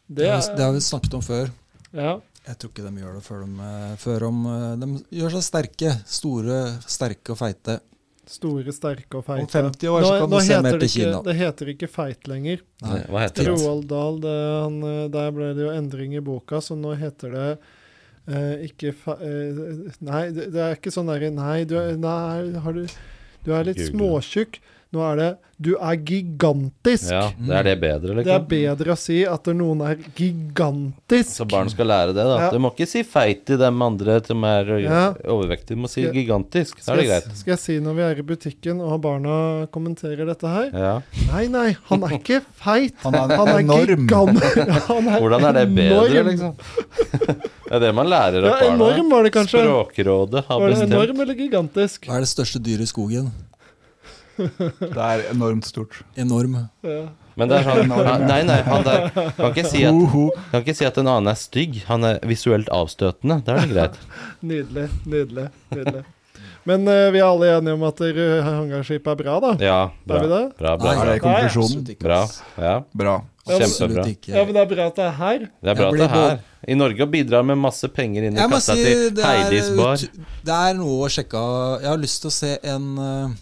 Det Det, er har vi- altså, det har vi snakket om før. Ja. Jeg tror ikke de gjør det før de, eh, før de, eh, de gjør seg sterke. Store, sterke og feite. Store, sterke og feite. Om 50 år så kan du se mer heter til det ikke, Kina. Det heter ikke feit lenger. Nei. Hva heter det? Roald Dahl, det, han, eh, der ble det jo endring i boka, så nå heter det eh, ikke fe... eh, nei, det, det er ikke sånn derre Nei, du er, nei har du, du er litt Google. småtjukk. Nå er det Du er gigantisk! Ja, det er det bedre, Det er liksom. bedre å si at noen er gigantisk. Så barn skal lære det, da. Ja. Du må ikke si feit til dem andre som er ø, Ja. overvektige. Du må si Skal- gigantisk. Da Skal er det jeg, greit. skal jeg si når vi er i butikken og barna kommenterer dette her? Ja. Nei, nei, han er ikke feit. Han er enorm. gigant. Han er Hvordan er det bedre, enorm. liksom? Det er det man lærer Ja, av barna. enorm var det kanskje. Språkrådet har Var det bestemt. enorm eller gigantisk? Hva er det største dyret i skogen? Det er enormt stort. Enorm. Ja. Men det Oh. er sånn Nei, nei, han der kan ikke si at, Hoho. kan ikke si at en annen er stygg. Han er visuelt avstøtende. Da er det greit. Nydelig, nydelig, nydelig. Men eh, vi er alle enige om at eh, hangarskip er bra, da? Ja, Er vi bra. det? Bra, bra. Er det Nei, konklusjonen? Absolutt ikke, bra. ass. Ja, Bra. Ja, men- Kjempebra. Absolutt ikke. Ja, men det er bra at det er her. Det er bra Jeg at blir det er her. I Norge og bidrar med masse penger inn i Jeg må kassa si til det er, Heidis bar. ut- det er noe å sjekke av. Jeg har lyst til å se en eh,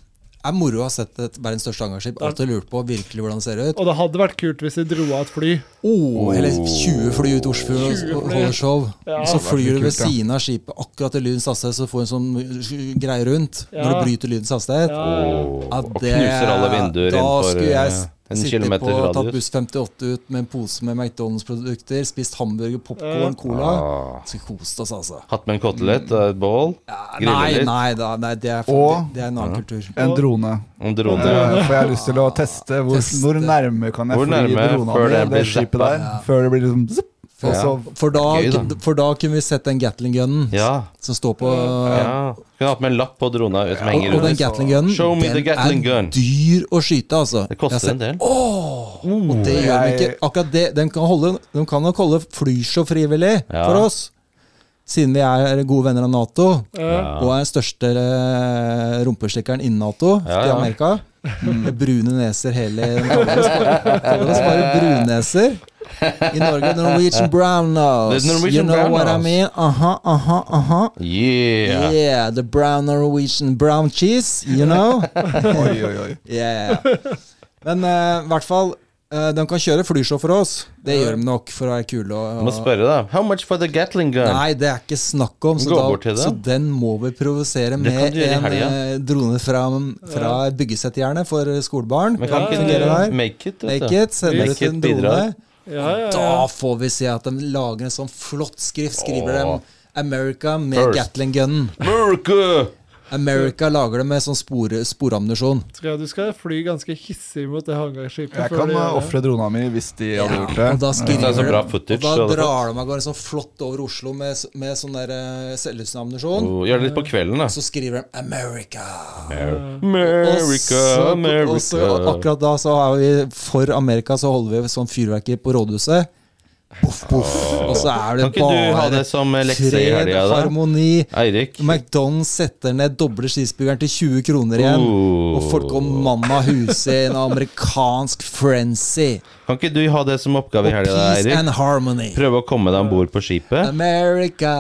Det er moro å ha sett et verdens største hangarskip. Alltid lurt på virkelig hvordan det ser ut. Og det hadde vært kult hvis de dro av et fly. Oh, eller 20 fly ut Oslofjorden 20 og fly. holder show. Ja. Så vært litt flyr du ved kult, da. siden av skipet akkurat i lydens hastighet, så får du en sånn greie rundt. Når Ja. det bryter lydens hastighet. Ja, Åh, Ja, og knuser alle vinduer da innenfor skulle jeg eh, s- en sittet på kilometers tatt radius. buss 58 ut med en pose med McDonald's-produkter, spist hamburger, Ja. popkorn, cola. Ah. Skal kost oss, altså. Hatt med en kotelett og et bål. Ja, Grille nei, litt. nei, da, nei det, er, Og- det er en annen kultur. En drone. En Eh, drone. For jeg har lyst til å teste hvor, Teste. hvor nærme kan jeg Hvor fly nærme drona før mi, den det blir skipet zappa? der. Før det bør liksom zipp, og Ja. så For, da, Gøy, da. for da kunne vi sett den Gatling-gunnen Ja. som står på ja. Kunne hatt med en lapp på drona som Og, henger og den rundt. Gatling-gunnen, Show me the den Gatling er gun. dyr å skyte, altså. Det Jeg har koster en sett- del. Og det gjør den ikke. Jeg- Akkurat det, den kan holde, De kan nok holde flyshow frivillig Ja. for oss, siden vi er gode venner av Nato. ja. Og er den største eh, rumpeslikkeren innen Nato Ja, i ja. Amerika. Med brune neser hele De kaller oss bare- kaller oss bare brunneser. I Norge Norwegian brown nose. The Norwegian you know brown what I nose. mean? Aha, aha, aha. Yeah. Yeah. the brown Norwegian brown cheese, you know? Oi, oi, oi. Yeah. Men eh, i hvert fall, eh, de kan kjøre flyshow for oss. Det gjør de nok for å være kule. Og, Må spørre, da. How much for the Gatling gun? Nei, det er ikke snakk om, så, Gå da, bort til det. så den må vi provosere Det kan med du gjøre i en helgen. eh, drone fra, fra byggesettjerne for skolebarn. Men kan Ja, ikke ja, ja. dere make it? vet Make du? it, sender Make ut en it drone. bidrar. Ja, ja, Da får vi se at de lager en sånn flott skrift. Åh. Skriver dem America med First. Gatling-gunnen. America! America lager det med sånn spore, sporammunisjon. Tror jeg du skal fly ganske hissig mot det hangarskipet. Jeg før kan du gjør eh, det. ofre drona mi hvis de hadde gjort Og da det. skriver Det er så de- bra footage, altså. Og da så det er drar de av gårde sånn flott over Oslo med, s- med sånn der eh, selvlysende-ammunisjon. Oh, Gjør det litt på kvelden, da. Så skriver de 'America'. Og America, så- Og så, og America. akkurat da så er vi for Amerika, så holder vi sånn fyrverkeri på rådhuset. Boff, boff. Og så Kan er det ikke du ha bare det som lekse i fred, helga, da? harmoni. Eirik? McDonald's setter ned doble cheeseburgeren til 20 kroner igjen. Oh. Og folk går manna huset i en amerikansk frenzy. Kan ikke du ha det som oppgave i helga, da, Peace Eirik? and harmony. Prøve å komme deg om bord på skipet? America.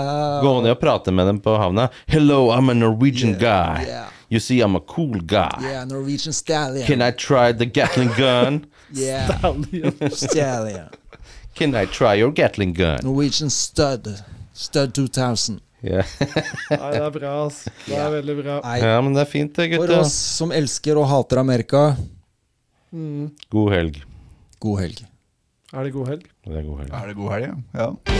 Gå ned og prate med dem på havna. Hello, I'm a Norwegian guy. uh, yeah. You see, I'm a cool guy. Yeah, Norwegian stallion. Can I try the Gatling gun? yeah, Stallion. stallion. Can I try your Gatling gun? Norwegian stud. Stud 2000. Ja, Nei, det er bra, ass. Det er veldig bra. Nei, ja men det er fint, det, for gutta. oss som elsker og hater Amerika, Mm. God helg. god helg. Er det god helg? Det er god helg. Er det god helg? Ja.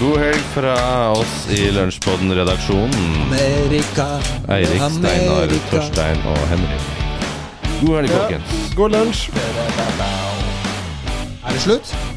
God helg fra oss i Lunsjpodden-redaksjonen. Amerika, Eirik, Steinar, Amerika. Torstein og Henry. God helg, Ja. folkens. God lunsj! Er det slutt?